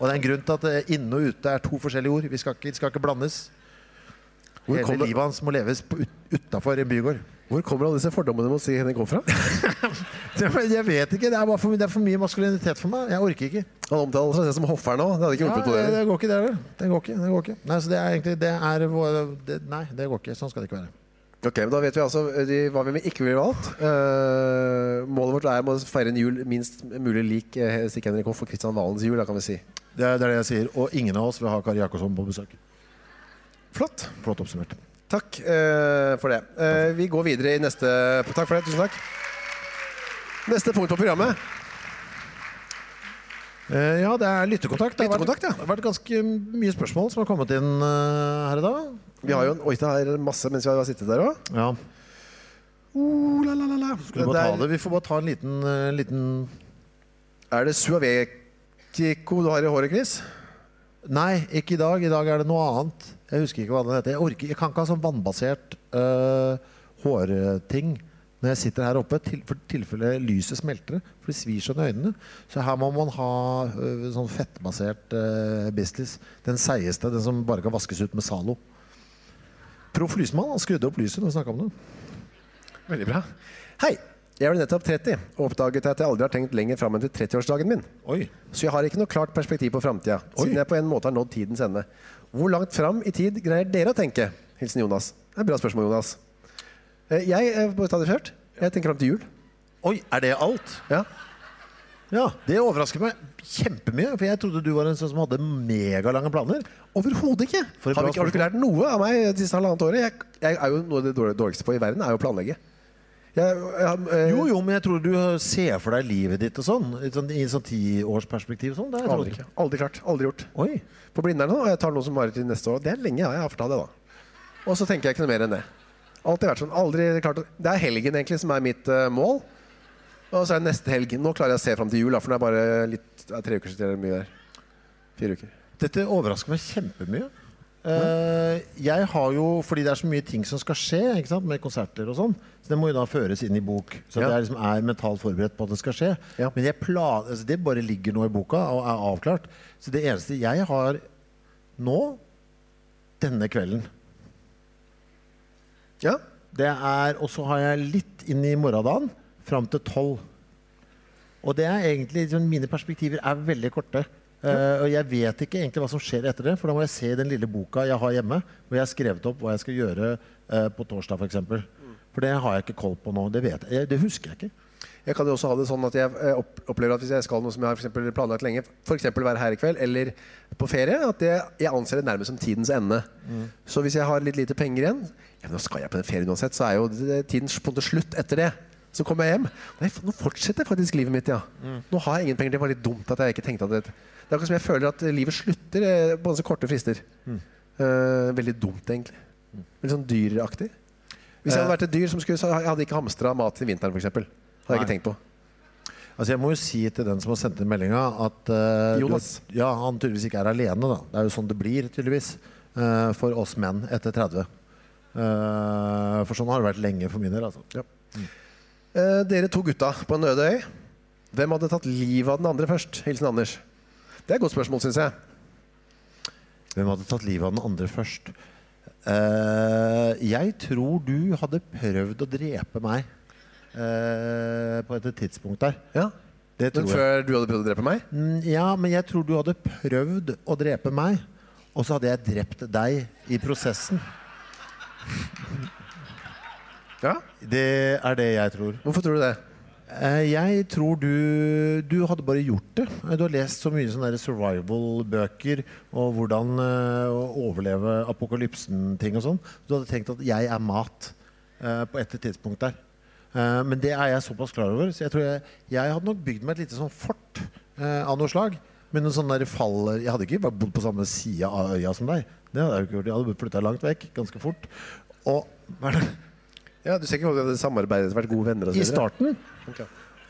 Speaker 2: Og det er en grunn til at eh, inne og ute er to forskjellige ord. Vi skal ikke, det skal ikke blandes.
Speaker 1: Hvor
Speaker 2: Hele
Speaker 1: kommer-
Speaker 2: livet hans må leves på ut, utafor en bygård.
Speaker 1: Hvor kommer alle disse fordommene mot si henne kom fra?
Speaker 2: Det- men Jeg vet ikke. Det er, bare for, det er for mye maskulinitet for meg. Jeg orker ikke.
Speaker 1: Han omtaler seg selv som hoffer nå. Det hadde ikke
Speaker 2: Ja,
Speaker 1: hjulpet på
Speaker 2: det,
Speaker 1: dere.
Speaker 2: det går ikke, det heller. Det går ikke. Det går ikke. Nei, så det er egentlig det er, vår- det, Nei, det går ikke. Sånn skal det ikke være.
Speaker 1: Ok, men Da vet vi altså eh, de, hva vi ikke ville valgt. Eh, målet vårt er å feire en jul minst mulig lik eh, Stig Henrik Hoff og Kristian Valens jul. Da kan vi si.
Speaker 2: Det er, det er det jeg sier. Og ingen av oss vil ha Kari Jakobsson på besøk.
Speaker 1: Flott.
Speaker 2: Flott oppsummert.
Speaker 1: Takk eh, for det. Eh, vi går videre i neste Takk for det. Tusen takk. Neste punkt på programmet.
Speaker 2: Eh, ja, det er lyttekontakt. Det har vært,
Speaker 1: Lyttekontakt, ja.
Speaker 2: det har vært ganske mye spørsmål som har kommet inn eh, her i dag.
Speaker 1: Vi har jo en Oi, det er masse mens vi har sittet der òg.
Speaker 2: Ja,
Speaker 1: Oh, la, la, la, la.
Speaker 2: vi, må ta
Speaker 1: Der
Speaker 2: det. vi får bare ta en liten, eh, liten
Speaker 1: Er det Suavekiko du har i håret, Chris?
Speaker 2: Nei, ikke i dag. I dag er det noe annet. Jeg husker ikke hva den heter. Jeg, orker, jeg kan ikke ha sånn vannbasert eh, hårting når jeg sitter her oppe, til, for tilfelle lyset smelter. For det svir sånn i øynene. Så her må man ha eh, sånn fettbasert eh, business. Den seigeste, den som bare kan vaskes ut med Zalo. Proff lysmann han skrudde opp lyset når vi snakka om det.
Speaker 1: Veldig bra. Hei. Jeg ble nettopp 30 og oppdaget at jeg aldri har tenkt lenger fram enn til 30-årsdagen min.
Speaker 2: Oi.
Speaker 1: Så jeg har ikke noe klart perspektiv på framtida,
Speaker 2: Oi.
Speaker 1: siden jeg på en måte har nådd tidens ende. Hvor langt fram i tid greier dere å tenke? Hilsen Jonas. Det er et bra spørsmål, Jonas. Eh, Jeg, eh, på stedet først, jeg tenker fram til jul.
Speaker 2: Oi, er det alt?
Speaker 1: Ja.
Speaker 2: Ja, Det overrasker meg kjempemye, for jeg trodde du var en sånn som hadde megalange planer.
Speaker 1: Overhodet ikke.
Speaker 2: For et
Speaker 1: Har,
Speaker 2: bra
Speaker 1: vi ikke! har du ikke lært noe av meg det siste halvannet året? Jeg, jeg er jo Noe av det dårlig- dårligste på i verden er jo å planlegge. Jeg, jeg, eh,
Speaker 2: Jo, jo, men jeg tror du ser for deg livet ditt og sånn. I et sånn, i et sånn tiårsperspektiv og sånn. Det har jeg
Speaker 1: Aldri,
Speaker 2: trodd.
Speaker 1: ikke. aldri klart. Aldri gjort.
Speaker 2: Oi.
Speaker 1: På Blindern nå, og jeg tar noe som varer til neste år. og Det er lenge, ja. Jeg har fortalt det, da. Og så tenker jeg ikke noe mer enn det. Alltid vært sånn. Aldri klart å Det er helgen egentlig som er mitt eh, mål. Og så er det neste helg. Nå klarer jeg å se fram til jul, da, for det er bare litt, det er tre uker siden. eller mye der. Fire uker.
Speaker 2: Dette overrasker meg kjempemye. Eh, jeg har jo, fordi det er så mye ting som skal skje, ikke sant? med konserter og sånn, så det må jo da føres inn i bok. Så
Speaker 1: Ja.
Speaker 2: at jeg liksom er mentalt forberedt på at det skal skje.
Speaker 1: Ja.
Speaker 2: Men jeg plan altså, det bare ligger nå i boka og er avklart. Så det eneste jeg har nå, denne kvelden,
Speaker 1: Ja.
Speaker 2: Det er, og så har jeg litt inn i morgendagen, fram til tolv. Og det er egentlig, sånn, mine perspektiver er veldig korte. Eh, og jeg vet ikke egentlig hva som skjer etter det, for da må jeg se i den lille boka jeg har hjemme, hvor jeg har skrevet opp hva jeg skal gjøre eh, på torsdag f.eks. For, eksempel. for det har jeg ikke koll på nå. Det, vet jeg, det husker jeg ikke.
Speaker 1: Jeg kan jo også ha det sånn at jeg eh, opp- opplever at hvis jeg skal noe som jeg har for eksempel planlagt lenge, f.eks. være her i kveld eller på ferie, at det, jeg anser det nærmest som tidens ende. Så hvis jeg har litt lite penger igjen, ja, men nå skal jeg på den ferien uansett, så er jo det- tiden på en måte slutt etter det. Så kommer jeg hjem. Nei, f- nå fortsetter faktisk livet mitt, ja. Nå har jeg ingen penger. Det var litt dumt at jeg ikke tenkte at det Det er akkurat som jeg føler at eh, livet slutter eh, på ganske korte frister. Eh, veldig dumt, egentlig. Veldig sånn dyraktig.
Speaker 2: Eh.
Speaker 1: Hvis jeg hadde vært et dyr som skulle, så jeg hadde ikke hamstra mat til vinteren, f.eks. Hadde jeg ikke
Speaker 2: Nei.
Speaker 1: tenkt på.
Speaker 2: Altså Jeg må jo si til den som har sendt inn meldinga, at eh, du-
Speaker 1: Jonas.
Speaker 2: ja, han tydeligvis ikke er alene. da Det er jo sånn det blir, tydeligvis, eh, for oss menn etter 30. Eh, for sånn har det vært lenge for min del. altså
Speaker 1: Eh, dere to gutta på en øde øy. Hvem hadde tatt livet av den andre først? Hilsen Anders. Det er et godt spørsmål, syns jeg.
Speaker 2: Hvem hadde tatt livet av den andre først? Eh, jeg tror du hadde prøvd å drepe meg eh, på et tidspunkt der.
Speaker 1: Ja.
Speaker 2: Det
Speaker 1: Men
Speaker 2: tror jeg.
Speaker 1: før du hadde prøvd å drepe meg?
Speaker 2: Mm, Ja, men jeg tror du hadde prøvd å drepe meg, og så hadde jeg drept deg i prosessen.
Speaker 1: Ja.
Speaker 2: Det er det jeg tror.
Speaker 1: Hvorfor tror du det?
Speaker 2: Eh, Jeg tror du Du hadde bare gjort det. Eh, Du har lest så mye sånne der survival-bøker og hvordan eh, å overleve apokalypsen-ting og sånn. Du hadde tenkt at 'jeg er mat' eh, på et tidspunkt der. Eh, Men det er jeg såpass klar over, så jeg tror jeg, jeg hadde nok bygd meg et lite sånn fort eh, av noe slag. Med noen sånne der fall Jeg hadde ikke bare bodd på samme side av øya som deg. Det hadde jeg jo ikke gjort. Jeg hadde flytta langt vekk ganske fort. Og hva er det?
Speaker 1: Ja, Du ser ikke hvordan vi hadde samarbeidet, vært gode venner og så
Speaker 2: i
Speaker 1: videre?
Speaker 2: starten
Speaker 1: Ok.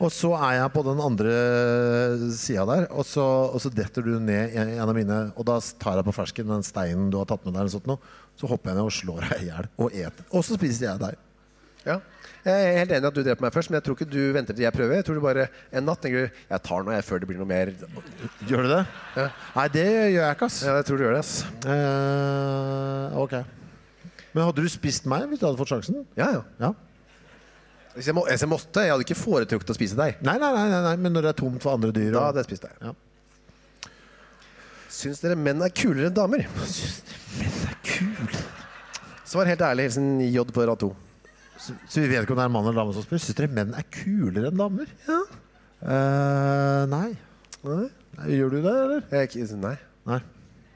Speaker 2: og så er jeg på den andre sida der, og så, og så detter du ned i en av mine Og da tar jeg på fersken den steinen du har tatt med deg, eller sånt noe, så hopper jeg ned og slår deg i hjel. Og eter. Og så spiser jeg deg.
Speaker 1: Ja. Jeg er helt enig i at du dreper meg først, men jeg tror ikke du venter til jeg prøver. Jeg tror du bare en natt tenker du, jeg tar noe jeg før det blir noe mer.
Speaker 2: Gjør du det?
Speaker 1: Ja.
Speaker 2: Nei, det gjør jeg ikke, ass.
Speaker 1: Ja, jeg tror du gjør det. ass.
Speaker 2: Eh, ok. Men hadde du spist meg hvis du hadde fått sjansen?
Speaker 1: Ja, ja.
Speaker 2: Ja.
Speaker 1: Hvis jeg, må, hvis jeg måtte, jeg hadde ikke foretrukket å spise deg.
Speaker 2: Nei, nei, nei, nei, nei, men når det er tomt for andre dyr
Speaker 1: Da
Speaker 2: og-
Speaker 1: hadde jeg spist deg.
Speaker 2: Ja.
Speaker 1: Syns dere menn er kulere enn damer? Svar helt ærlig. Hilsen J på rad 2.
Speaker 2: Så så vi vet ikke om det er en mann eller dame som spør. Syns dere menn er kulere enn damer?
Speaker 1: Ja.
Speaker 2: Eh, nei.
Speaker 1: Nei.
Speaker 2: Nei, Gjør du det, eller?
Speaker 1: Jeg, er ikke- nei.
Speaker 2: Nei.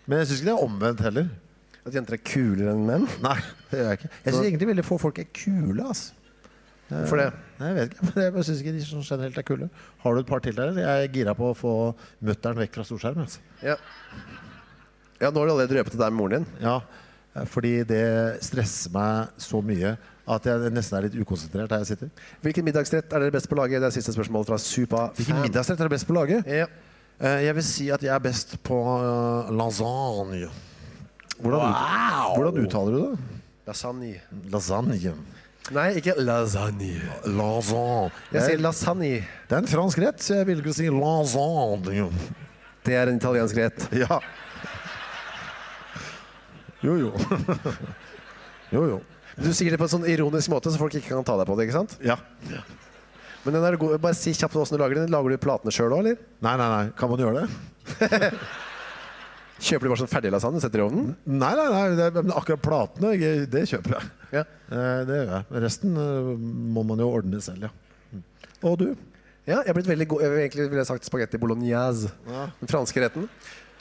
Speaker 2: Men jeg syns ikke det er omvendt heller.
Speaker 1: At jenter er kulere enn menn?
Speaker 2: Nei, det gjør jeg ikke. Jeg syns egentlig veldig få folk er kule, altså.
Speaker 1: Hvorfor det?
Speaker 2: Nei, jeg vet ikke, men jeg bare synes ikke de som generelt er kule. Har du et par til der? eller? Jeg er gira på å få mutter'n vekk fra storskjerm. Altså.
Speaker 1: Ja. ja, nå har du allerede røpet det der med moren din.
Speaker 2: Ja, eh, fordi det stresser meg så mye at jeg nesten er litt ukonsentrert her jeg sitter.
Speaker 1: Hvilken middagsrett er dere best på å lage? Det er siste spørsmål fra Supa.
Speaker 2: Hvilken middagsrett er det best på å lage?
Speaker 1: Ja.
Speaker 2: Eh, Jeg vil si at jeg er best på eh, lasagne. Hvordan, ut,
Speaker 1: Wow!
Speaker 2: hvordan uttaler du det?
Speaker 1: Lasagne.
Speaker 2: Lasagne.
Speaker 1: Nei, ikke lasagne.
Speaker 2: Lasagne.
Speaker 1: Jeg sier
Speaker 2: Jeg,
Speaker 1: lasagne.
Speaker 2: det er en fransk rett, så jeg vil ikke si lasagne.
Speaker 1: Det er en italiensk rett.
Speaker 2: Ja. Jo, jo. jo, jo.
Speaker 1: Du sier det på en sånn ironisk måte, så folk ikke kan ta deg på det. ikke sant?
Speaker 2: Ja.
Speaker 1: Men den er god. Bare si kjapt hvordan du lager den. Lager du platene sjøl òg, eller?
Speaker 2: Nei, nei, nei. Kan man gjøre det?
Speaker 1: Kjøper du bare sånn ferdig lasagne og setter i ovnen?
Speaker 2: Nei, nei, nei. Det, men akkurat platene, jeg- det kjøper jeg.
Speaker 1: Ja.
Speaker 2: Eh, Det gjør jeg. Resten eh, må man jo ordne selv, ja. Mm. Og du?
Speaker 1: ja jeg er blitt veldig god Jeg vil egentlig ville jeg sagt spagetti bolognese.
Speaker 2: Ja.
Speaker 1: Den franske retten.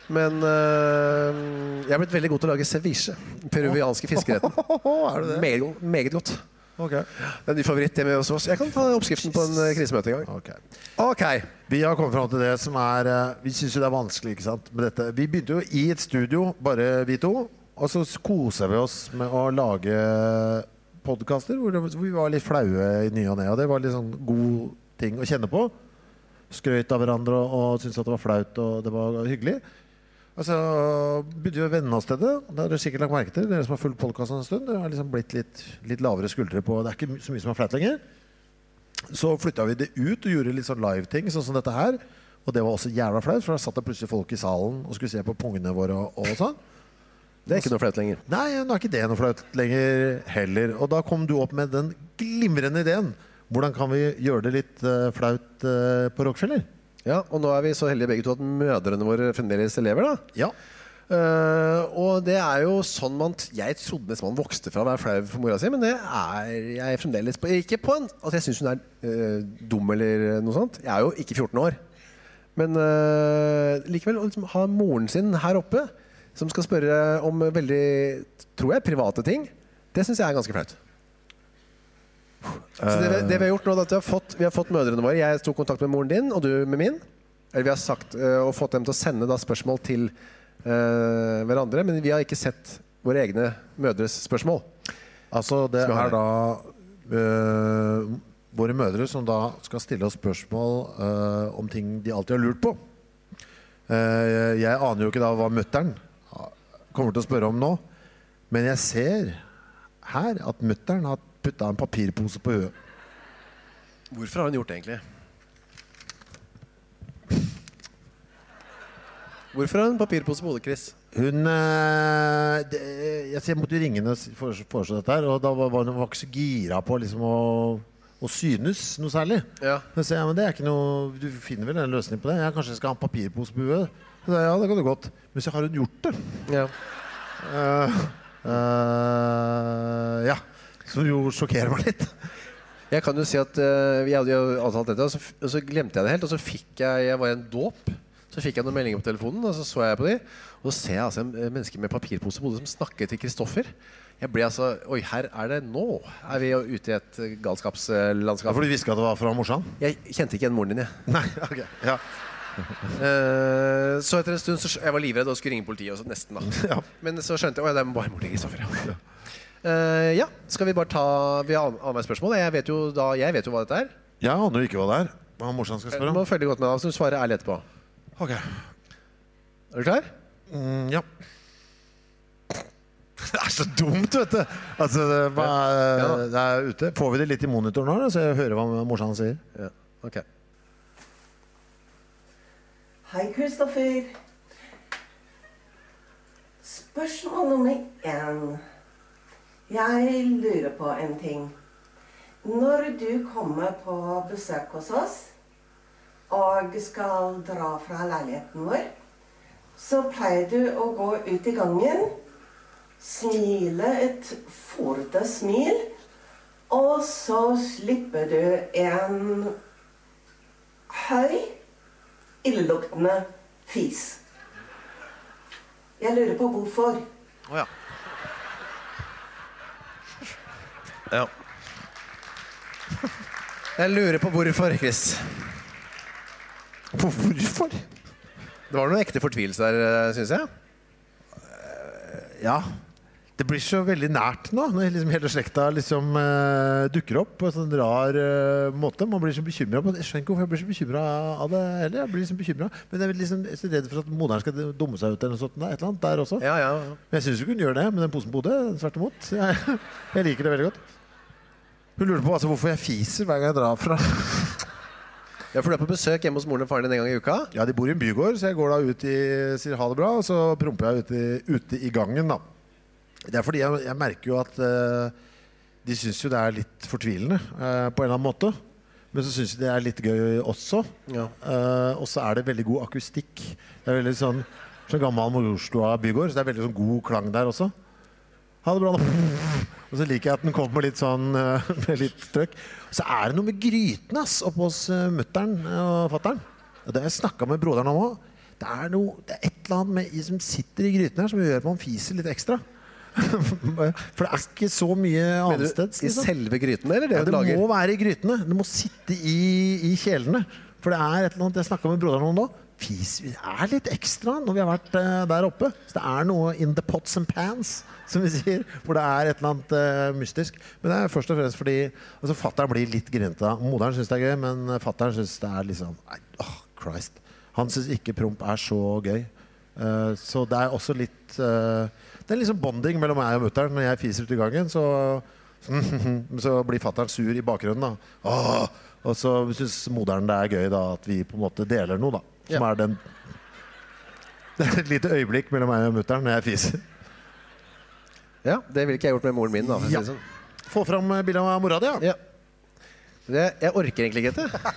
Speaker 1: Men øh, jeg er blitt veldig god til å lage ceviche. Den Peruvianske fiskeretten.
Speaker 2: Er du det?
Speaker 1: Meget, god- meget godt.
Speaker 2: Ok.
Speaker 1: Det er en ny favoritt hjemme hos oss. Jeg kan ta oppskriften på en øh, krisemøte en gang.
Speaker 2: Ok.
Speaker 1: Ok.
Speaker 2: Vi har kommet fram til det som er eh, Vi syns jo det er vanskelig ikke sant, med dette. Vi begynte jo i et studio, bare vi to. Og så koser vi oss med å lage podkaster hvor det- hvor vi var litt flaue i ny og ne. Og det var litt sånn god ting å kjenne på. Skrøyt av hverandre og, og syntes at det var flaut og det var hyggelig. Og så begynte vi å venne oss til det. og Det har dere sikkert lagt merke til, dere som har fulgt podkasten en stund. Dere har liksom blitt litt, litt lavere skuldre på Det er ikke my- så mye som er flaut lenger. Så flytta vi det ut og gjorde litt sånn live-ting, sånn som dette her. Og det var også jævla flaut, for da satt det plutselig folk i salen og skulle se på pungene våre og, og sånn.
Speaker 1: Det er ikke noe flaut lenger.
Speaker 2: Nei, nå er ikke det noe flaut lenger heller. Og da kom du opp med den glimrende ideen. Hvordan kan vi gjøre det litt eh, flaut eh, på Rockefeller?
Speaker 1: Ja, Og nå er vi så heldige begge to at mødrene våre fremdeles lever, da.
Speaker 2: Ja.
Speaker 1: Eh, og det er jo sånn man t- Jeg trodde nesten man vokste fra å være flau for mora si, men det er jeg fremdeles på. Ikke på en at jeg syns hun er eh, dum eller noe sånt. Jeg er jo ikke 14 år. Men eh, likevel å liksom, ha moren sin her oppe, som skal spørre om veldig, tror jeg, private ting, det syns jeg er ganske flaut. Så det, vi- det vi har gjort nå, er at vi har, fått, vi har fått mødrene våre. Jeg tok kontakt med moren din, og du med min. Eller vi har sagt, eh, og fått dem til å sende da, spørsmål til eh, hverandre, men vi har ikke sett våre egne mødres spørsmål.
Speaker 2: Altså, det
Speaker 1: Skal vi ha
Speaker 2: er da eh, våre mødre som da skal stille oss spørsmål eh, om ting de alltid har lurt på. Eh, jeg aner jo ikke da hva mutter'n kommer til å spørre om nå, men jeg ser her at mutter'n har putta en papirpose på huet.
Speaker 1: Hvorfor har hun gjort det, egentlig? Hvorfor har hun papirpose på hodet, Chris?
Speaker 2: Hun eh, det, jeg, jeg måtte jo ringe henne og s- foreslå, foreslå dette her, og da var, var hun var ikke så gira på liksom, å, å synes noe særlig.
Speaker 1: Ja.
Speaker 2: Men, så, jeg, men det er ikke noe, Du finner vel en løsning på det? Ja, kanskje jeg skal ha en papirpose på huet? Så sa jeg, Ja, det kan du godt. Men så har hun gjort det.
Speaker 1: Ja.
Speaker 2: Eh, eh, ja. Som jo sjokkerer meg litt.
Speaker 1: Jeg kan jo si at eh, jeg hadde jo avtalt dette, og så, f- og så glemte jeg det helt. Og så fikk jeg Jeg var i en dåp. Så fikk jeg noen meldinger på telefonen, og så så jeg på de. Og så ser jeg altså en eh, menneske med papirpose på hodet som snakker til Kristoffer. Jeg ble altså Oi, her er det nå! Er vi jo ute i et eh,
Speaker 2: Ja,
Speaker 1: galskapslandskap?
Speaker 2: For du hviska at det var fra morsan?
Speaker 1: Jeg kjente ikke igjen moren din, jeg.
Speaker 2: Nei, ok. Ja.
Speaker 1: Eh, så etter en stund så skj- Jeg var livredd og skulle ringe politiet også, nesten, da.
Speaker 2: Ja.
Speaker 1: Men så skjønte jeg Å ja, det er bare moren til Kristoffer. Ja. Eh, ja, skal vi bare ta Vi har ann- annethvert spørsmål. Jeg vet jo da Jeg vet jo hva dette er.
Speaker 2: Jeg aner jo ikke hva det er. Hva morsan skal
Speaker 1: Du
Speaker 2: spørre
Speaker 1: må
Speaker 2: om.
Speaker 1: følge godt med, da, så du svarer ærlig etterpå.
Speaker 2: Ok.
Speaker 1: Er du klar?
Speaker 2: Mm, ja. Det er så dumt, vet du! Altså, det, hva,
Speaker 1: Ja.
Speaker 2: det er ute. Får vi det litt i monitoren nå, da, så jeg hører hva morsan sier?
Speaker 1: Ja. Ok.
Speaker 3: Hei, Kristoffer. Spørsmål nummer én. Jeg lurer på en ting. Når du kommer på besøk hos oss og skal dra fra leiligheten vår, så pleier du å gå ut i gangen, smile et forte smil, og så slipper du en høy, illeluktende fis. Jeg lurer på hvorfor.
Speaker 2: Å ja.
Speaker 1: Ja. Jeg lurer på hvorfor, Chris.
Speaker 2: Hvorfor?
Speaker 1: Det var noe ekte fortvilelse der, syns jeg.
Speaker 2: Ja. Det blir så veldig nært nå, når liksom hele slekta liksom, eh, dukker opp på en sånn rar eh, måte. Man blir så bekymra. Jeg skjønner ikke hvorfor jeg blir så bekymra av det heller. Jeg blir liksom bekymret. Men jeg er liksom jeg er så redd for at moderen skal dumme seg ut eller noe sånt. Nei, et eller annet der også.
Speaker 1: Ja, ja. ja.
Speaker 2: Men jeg syns ikke hun gjør det med den posen på hodet. Tvert imot. Jeg, jeg liker det veldig godt. Hun lurer på altså, hvorfor jeg fiser hver gang jeg drar fra
Speaker 1: Ja, for du er på besøk hjemme hos moren og faren din en gang i uka.
Speaker 2: Ja, de bor i en bygård, så jeg går da ut i, sier ha det bra, og så promper jeg ute, i- ute i gangen da. Det er fordi jeg, jeg merker jo at eh, de synes jo det er litt fortvilende eh, på en eller annen måte. Men så synes de det er litt gøy også.
Speaker 1: Ja.
Speaker 2: Eh, og så er det veldig god akustikk. Det er veldig sånn, så gammel Morstua bygård, så det er veldig sånn god klang der også. Ha det bra, da. Og så liker jeg at den kommer litt sånn eh, med litt trøkk. Så er det noe med grytene ass, oppe hos uh, mutter'n og fatter'n. Og det har jeg snakka med broderen om òg. Det er noe, det er et eller annet med i som sitter i grytene her som gjør at man fiser litt ekstra. For det er ikke så mye liksom.
Speaker 1: Mener du
Speaker 2: annetsteds.
Speaker 1: I selve gryten, eller? Det,
Speaker 2: Ja,
Speaker 1: du
Speaker 2: det
Speaker 1: lager?
Speaker 2: må være i grytene. Det må sitte i, i kjelene. For det er et eller annet Jeg snakka med broderen om det nå. Fis vi er litt ekstra når vi har vært eh, der oppe. Så det er noe in the pots and pans, som vi sier. Hvor det er et eller annet eh, mystisk. Men det er først og fremst fordi altså, fatter'n blir litt grinete. Moderen syns det er gøy, men fatter'n syns det er liksom nei, åh, Christ. Han syns ikke promp er så gøy. Eh, så det er også litt eh, Det er liksom bonding mellom meg og mutter'n. Når jeg fiser ute i gangen, så men så blir fatteren sur i bakgrunnen, da. Åh! Og så syns moderen det er gøy da at vi på en måte deler noe, da. Som
Speaker 1: Ja.
Speaker 2: er den Det er et lite øyeblikk mellom meg og mutter'n når jeg fiser.
Speaker 1: Ja, det ville ikke jeg gjort med moren min. da. for å si
Speaker 2: Ja.
Speaker 1: det sånn.
Speaker 2: Få fram eh, bildet av mora di, ja.
Speaker 1: Ja. Det, jeg orker egentlig ikke dette.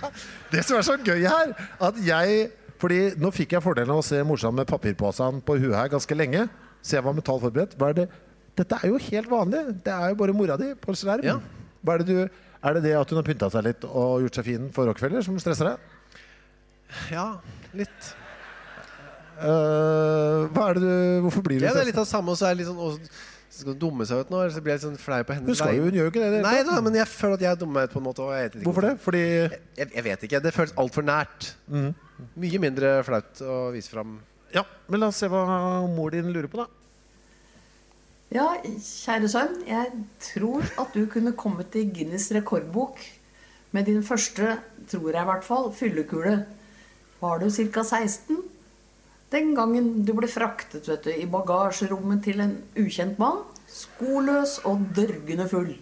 Speaker 2: Det som er så gøy her, at jeg Fordi nå fikk jeg fordelen av å se morsan med papirposen på huet her ganske lenge. Så jeg var metall forberedt. Hva er det? Dette er jo helt vanlig. Det er jo bare mora di på skjerm.
Speaker 1: Ja.
Speaker 2: Hva er det du Er det det at hun har pynta seg litt og gjort seg fin for Rockefeller, som stresser deg?
Speaker 1: Ja, litt.
Speaker 2: Eh, hva er det du, hvorfor blir du
Speaker 1: Ja, det er
Speaker 2: stresset?
Speaker 1: litt av det samme, og så er det litt sånn å, Skal hun dumme seg ut nå? Eller så blir jeg litt sånn flau på hennes
Speaker 2: Hun skal jo- hun gjør jo ikke det i det hele
Speaker 1: Nei da, men jeg føler at jeg dummer meg ut på en måte. Og jeg vet ikke
Speaker 2: Hvorfor det? Fordi
Speaker 1: Jeg, jeg vet ikke. Det Mhm. føles altfor nært. Mye mindre flaut å vise fram.
Speaker 2: Ja, men la oss se hva mor din lurer på, da.
Speaker 4: Ja, kjære sønn, jeg tror at du kunne kommet i Guinness rekordbok med din første, tror jeg i hvert fall, fyllekule. Var du ca. 16? Den gangen du ble fraktet vet du, i bagasjerommet til en ukjent mann, skoløs og dørgende full.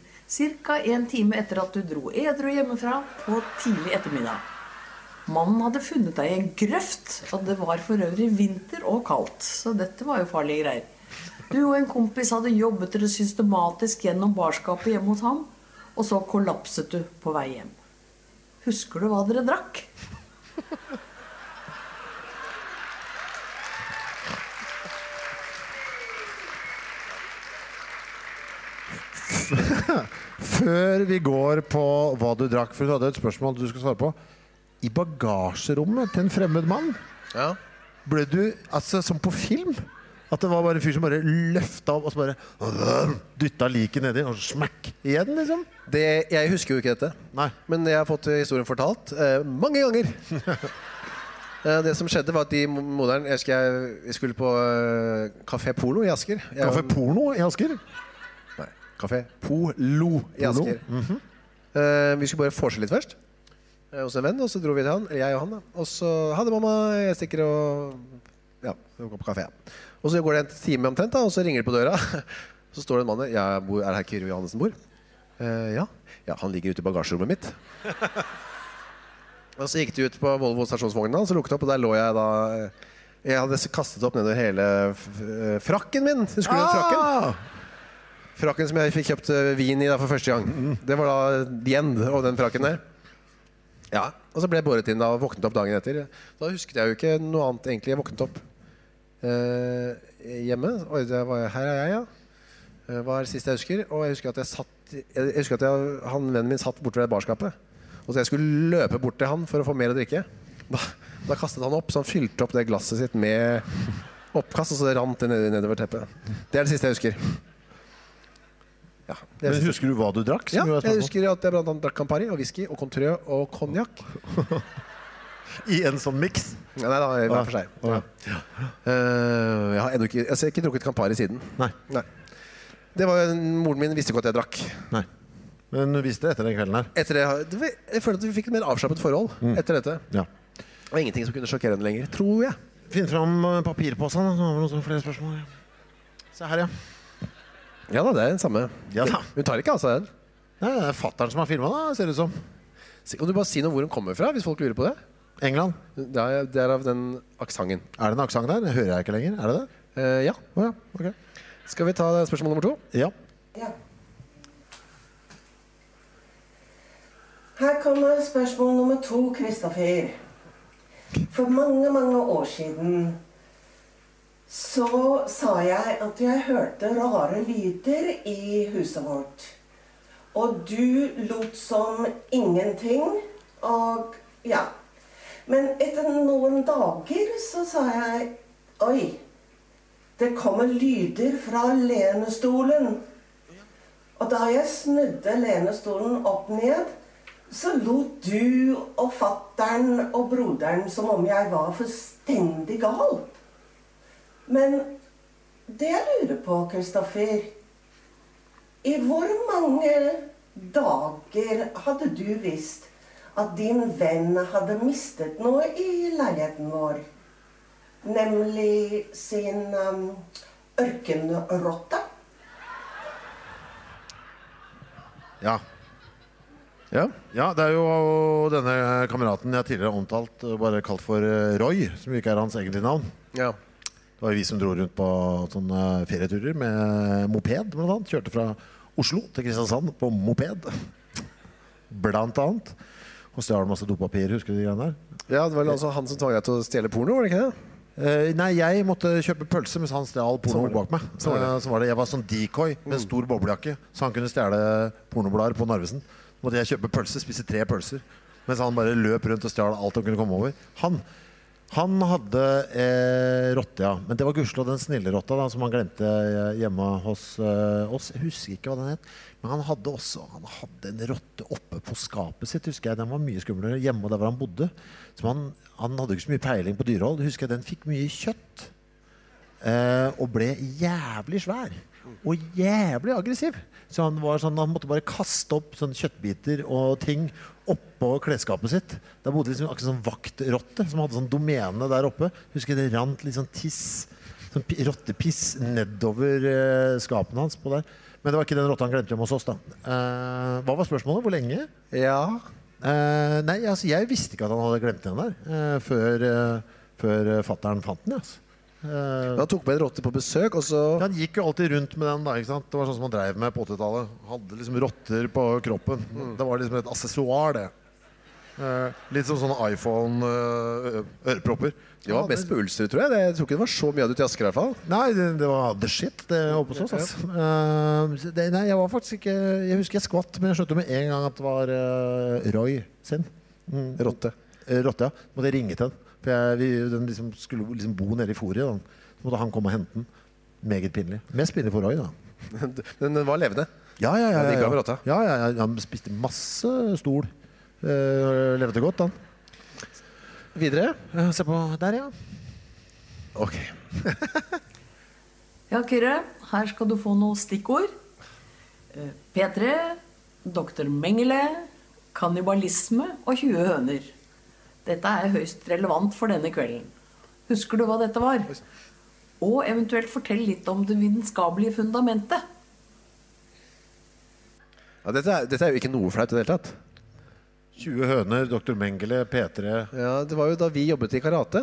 Speaker 4: Ca. en time etter at du dro edru hjemmefra på tidlig ettermiddag. Mannen hadde funnet deg i en grøft, og det var for øvrig vinter og kaldt. Så dette var jo farlige greier. Du og en kompis hadde jobbet dere systematisk gjennom barskapet hjemme hos ham, og så kollapset du på vei hjem. Husker du hva dere drakk?
Speaker 2: Før vi går på hva du drakk, for hun hadde et spørsmål du skulle svare på. I bagasjerommet til en fremmed mann
Speaker 1: Ja.
Speaker 2: ble du altså som på film. At det var bare en fyr som bare løfta opp og så bare dytta liket nedi og smekk igjen, liksom.
Speaker 1: Det, jeg husker jo ikke dette.
Speaker 2: Nei.
Speaker 1: Men jeg har fått historien fortalt eh, mange ganger. Eh, det som skjedde, var at de mo- moderen Jeg husker jeg vi skulle på eh, Café Polo i Asker. Jeg-
Speaker 2: Kaffe porno i Asker.
Speaker 1: Nei, Café Polo i
Speaker 2: Polo.
Speaker 1: Asker. Eh, vi skulle bare vorse litt først eh, hos en venn, og så dro vi til han, eller jeg og han. da. Og så Ha det, mamma, jeg stikker og Ja, vi går på kafé. Og så går det en time omtrent, da, og så ringer det på døra. Så står det en mann der. «Ja, bor- Er det her Kyrre Johannessen bor? «Eh, ja. ja. Han ligger ute i bagasjerommet mitt. Og så gikk de ut på Volvo stasjonsvogna, og så lukket det opp, og der lå jeg da eh,
Speaker 2: Ah!
Speaker 1: Jeg hadde kastet opp nedover hele f- f- frakken min. Husker du den frakken? Frakken som jeg fikk kjøpt eh, vin i da for første gang, det var da The End og den frakken der. Ja, Og så ble jeg båret inn da og våknet opp dagen etter. Da husket jeg jo ikke noe annet egentlig. Jeg våknet opp eh, hjemme. Oi, det var, her er jeg, ja. Eh, Var det siste jeg husker. Og jeg husker at, jeg satt, jeg husker at jeg, han vennen min satt borte ved barskapet. Og så jeg skulle løpe bort til han for å få mer å drikke. Da, da kastet han opp, så han fylte opp det glasset sitt med oppkast, og så rant det ned- nedover teppet. Det er det siste jeg husker. Ja, det er det
Speaker 2: Men
Speaker 1: siste.
Speaker 2: husker du hva du drakk? som
Speaker 1: Ja,
Speaker 2: jo er
Speaker 1: jeg
Speaker 2: spørsmål?
Speaker 1: husker at jeg blant annet drakk Campari og whisky og Contrø og konjakk.
Speaker 2: I en sånn miks?
Speaker 1: Nei, nei, nei, hver for seg.
Speaker 2: Ja.
Speaker 1: Eh, jeg har ennå ikke, altså, jeg har ikke drukket Campari siden.
Speaker 2: Nei.
Speaker 1: Nei. Det var jo, Moren min visste ikke at jeg drakk.
Speaker 2: Nei. Men du visste det etter den kvelden her?
Speaker 1: Etter det, har- det var- jeg føler at vi fikk et mer avslappet forhold etter dette.
Speaker 2: Ja.
Speaker 1: Det var ingenting som kunne sjokkere henne lenger, tror jeg.
Speaker 2: Finn fram eh, papirposen, da, så har vi noen sånne flere spørsmål. Se her, ja.
Speaker 1: Ja da, det er den samme.
Speaker 2: Ja da.
Speaker 1: Hun tar ikke av seg den.
Speaker 2: Nei, det er fatteren som har filma, da, ser det ut som.
Speaker 1: Så Kan du bare si noe hvor hun kommer fra, hvis folk lurer på det?
Speaker 2: England.
Speaker 1: Det er, det er av den aksenten.
Speaker 2: Er det en aksent der? Det hører jeg ikke lenger. Er det det?
Speaker 1: Eh, ja.
Speaker 2: Å ja. Ok.
Speaker 1: Skal vi ta spørsmål nummer to?
Speaker 2: Ja.
Speaker 3: Ja. Her kommer spørsmål nummer to, Kristoffer. For mange, mange år siden så sa jeg at jeg hørte rare lyder i huset vårt. Og du lot som ingenting, og ja. Men etter noen dager så sa jeg Oi, det kommer lyder fra lenestolen. Og da jeg snudde lenestolen opp ned, så lot du og fattern og broderen som om jeg var fullstendig gal. Men det jeg lurer på, Kristoffer I hvor mange dager hadde du visst at din venn hadde mistet noe i leiligheten vår? Nemlig sin um, ørkenrotte.
Speaker 2: ja.
Speaker 1: Ja.
Speaker 2: Ja, det er jo denne kameraten jeg tidligere har omtalt, og bare kalt for eh, Roy, som jo ikke er hans egentlige navn.
Speaker 1: ja.
Speaker 2: Det var jo vi som dro rundt på sånne ferieturer med moped, blant annet. Kjørte fra Oslo til Kristiansand på moped, blant annet. Og stjal masse dopapir, husker du de greiene der?
Speaker 1: Ja, det var vel altså han som tvang deg til å stjele porno, var det ikke det?
Speaker 2: Eh, nei, jeg måtte kjøpe pølse mens han stjal porno bak meg. Så var, Sånn det. så var det. Jeg var sånn decoy med en stor boblejakke, så han kunne stjele pornoblader på Narvesen. Så måtte jeg kjøpe pølse, spise tre pølser, mens han bare løp rundt og stjal alt han kunne komme over. Han, han hadde eh, rotte, ja. Men det var gudskjelov den snille rotta da, som han glemte eh, hjemme hos eh, oss. Jeg husker ikke hva den het. Men han hadde også han hadde en rotte oppe på skapet sitt, husker jeg. Den var mye skumlere hjemme der hvor han bodde. Så han, han hadde jo ikke så mye peiling på dyrehold. Husker jeg den fikk mye kjøtt. Eh, og ble jævlig svær. Og jævlig aggressiv. Så han, var sånn, han måtte bare kaste opp sånn kjøttbiter og ting oppå klesskapet sitt. Der bodde liksom akkurat sånn vaktrotte som hadde sånn domene der oppe. Husker jeg det rant litt sånn tiss, sånn pi- rottepiss nedover eh, skapene hans. på der. Men det var ikke den rotta han glemte hjemme hos oss. da. Eh, hva var spørsmålet? Hvor lenge?
Speaker 1: Ja.
Speaker 2: Eh, nei, altså, jeg visste ikke at han hadde glemt den der eh, før, uh, før fattern fant den. Altså. Eh,
Speaker 1: Han tok med en rotte på besøk, og så
Speaker 2: han gikk jo alltid rundt med den. da, ikke sant? Det var sånn som han drev med på 80-tallet. Hadde liksom rotter på kroppen. Det var liksom et aksessoar, det. Eh, litt som sånne eh, iPhone-ørepropper.
Speaker 1: Det var mest på Ulster, tror jeg. Det- Jeg tror ikke det var så mye av det til Asker, i hvert fall.
Speaker 2: Nei, det, det var the shit, det oppe hos oss. Altså. Eh, så det, nei, jeg var faktisk ikke Jeg husker jeg skvatt, men jeg skjønte med en gang at det var eh, Roy sin. Mm.
Speaker 1: Rotte.
Speaker 2: Eh, Rotte, ja. Så måtte jeg ringe til den. For jeg, vi, den liksom skulle liksom bo nede i fôret. Da. Så måtte han komme og hente den. Meget pinlig. Mest pinlig for Roy, da.
Speaker 1: Men den var levende.
Speaker 2: Ja, ja, ja.
Speaker 1: det
Speaker 2: ja,
Speaker 1: gikk bra med
Speaker 2: ja.
Speaker 1: rotta.
Speaker 2: ja, ja, ja. Han spiste masse stol. Eh, levde godt, han.
Speaker 1: Videre.
Speaker 2: Eh, se på der, ja.
Speaker 1: Ok.
Speaker 4: Ja, Kyrre, her skal du få noen stikkord. Eh, P3, Dr. Mengele, kannibalisme og 20 høner. Dette er høyst relevant for denne kvelden. Husker du hva dette var? Og eventuelt fortell litt om det vitenskapelige fundamentet.
Speaker 1: Ja, dette, er, dette er jo ikke noe flaut i det hele tatt.
Speaker 2: 20 høner, Dr. Mengele, P3
Speaker 1: Ja, det var jo da vi jobbet i karate.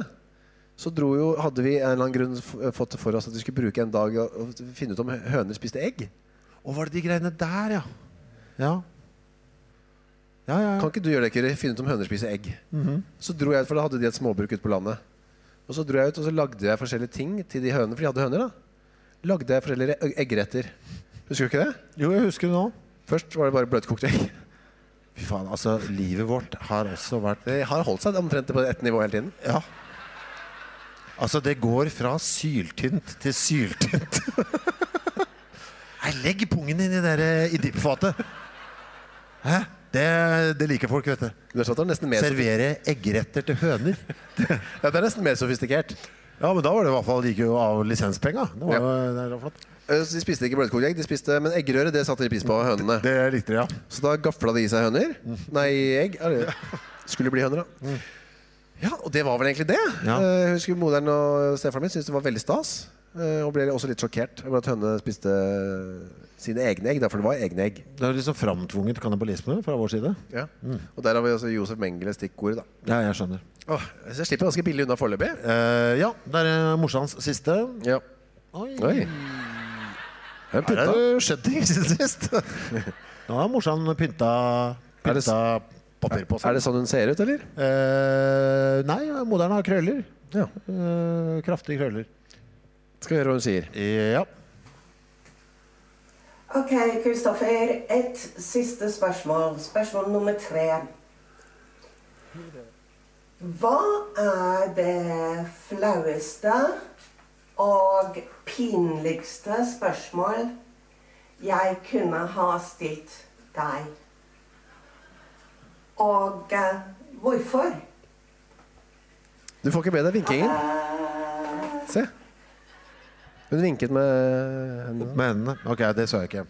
Speaker 1: Så dro jo, hadde vi en eller annen grunn f- fått for oss at vi skulle bruke en dag og og finne ut om høner spiste egg.
Speaker 2: Å, var det de greiene der, ja? Ja. Ja, ja, ja.
Speaker 1: Kan ikke du gjøre det, Kyrre? Finne ut om høner spiser egg. Så dro jeg ut, for da hadde de et småbruk ute på landet. Og så dro jeg ut, og så lagde jeg forskjellige ting til de hønene, for de hadde høner, da. Lagde jeg forskjellige egg- eggretter. Husker du ikke det?
Speaker 2: Jo, jeg husker det nå.
Speaker 1: Først var det bare bløtkokte egg.
Speaker 2: Fy faen, altså, livet vårt har også vært
Speaker 1: Det har holdt seg omtrent på ett nivå hele tiden.
Speaker 2: Ja. Altså, det går fra syltynt til syltynt. Nei, legg pungen inn i det der- eh, i dippfatet. Hæ? Det, det liker folk, vet du.
Speaker 1: Du har sagt det er nesten mer, sofistikert.
Speaker 2: Servere eggretter til høner.
Speaker 1: ja, det er nesten mer sofistikert.
Speaker 2: Ja, men da var det i hvert fall like av lisenspenga. Det var,
Speaker 1: Ja.
Speaker 2: jo- det var flott.
Speaker 1: Eh, Så de spiste ikke bløtkokte egg, de spiste, men eggerøre det satte de pris på, hønene.
Speaker 2: Mm. Det likte de, ja.
Speaker 1: Så da gafla de i seg høner. Nei, egg. Er det- Skulle bli høner, da. Ja, og det var vel egentlig det.
Speaker 2: Mm. Ja.
Speaker 1: Eh, Jeg husker moderen og stefaren min syntes det var veldig stas. eh, Og ble også litt sjokkert over at hønene spiste sine egne egg. da, For det var egne egg.
Speaker 2: Det er liksom framtvunget kannibalisme fra vår side. Mm.
Speaker 1: Og der har vi altså Josef Mengele stikkordet, da.
Speaker 2: Ja, jeg skjønner.
Speaker 1: Åh, så jeg slipper ganske billig unna foreløpig.
Speaker 2: Eh, ja, det er eh, morsans siste.
Speaker 1: Ja.
Speaker 2: Oi.
Speaker 1: Oi. Her
Speaker 2: Her
Speaker 1: er putta.
Speaker 2: har det skjedd ting siden sist. Nå har morsan pynta,
Speaker 1: Er det
Speaker 2: pynta papir på
Speaker 1: Er
Speaker 2: seg.
Speaker 1: det sånn hun ser ut, eller?
Speaker 2: Eh, nei, moderen har krøller.
Speaker 1: Ja.
Speaker 2: Eh, kraftige krøller.
Speaker 1: Skal vi høre hva hun sier.
Speaker 2: Ja.
Speaker 3: Ok, Kristoffer. Et siste spørsmål. Spørsmål nummer tre. Hva er det flaueste og pinligste spørsmål jeg kunne ha stilt deg? Og eh, hvorfor?
Speaker 1: Du får ikke med deg vinkingen. Se. Hun vinket med hendene.
Speaker 2: Med hendene. Ok, det så jeg ikke.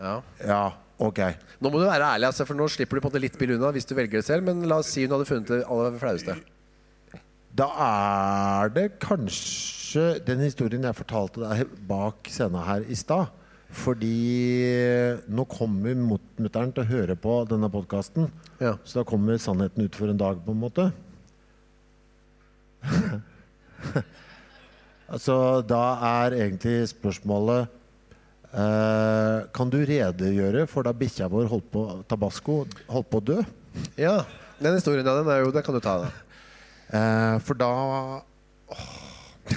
Speaker 1: Ja.
Speaker 2: Ja, ok.
Speaker 1: Nå må du være ærlig, altså, for nå slipper du på en måte litt billig unna hvis du velger det selv, men la oss si hun hadde funnet det aller flaueste.
Speaker 2: Da er det kanskje den historien jeg fortalte deg bak scenen her i stad. Fordi nå kommer mut- mutter'n til å høre på denne podkasten.
Speaker 1: Ja.
Speaker 2: Så da kommer sannheten ut for en dag, på en måte. altså, da er egentlig spørsmålet eh, Kan du redegjøre for da bikkja vår holdt på tabasco holdt på å dø?
Speaker 1: ja. Den historien, ja, den er jo, den kan du ta. Da.
Speaker 2: Eh, for da
Speaker 1: Det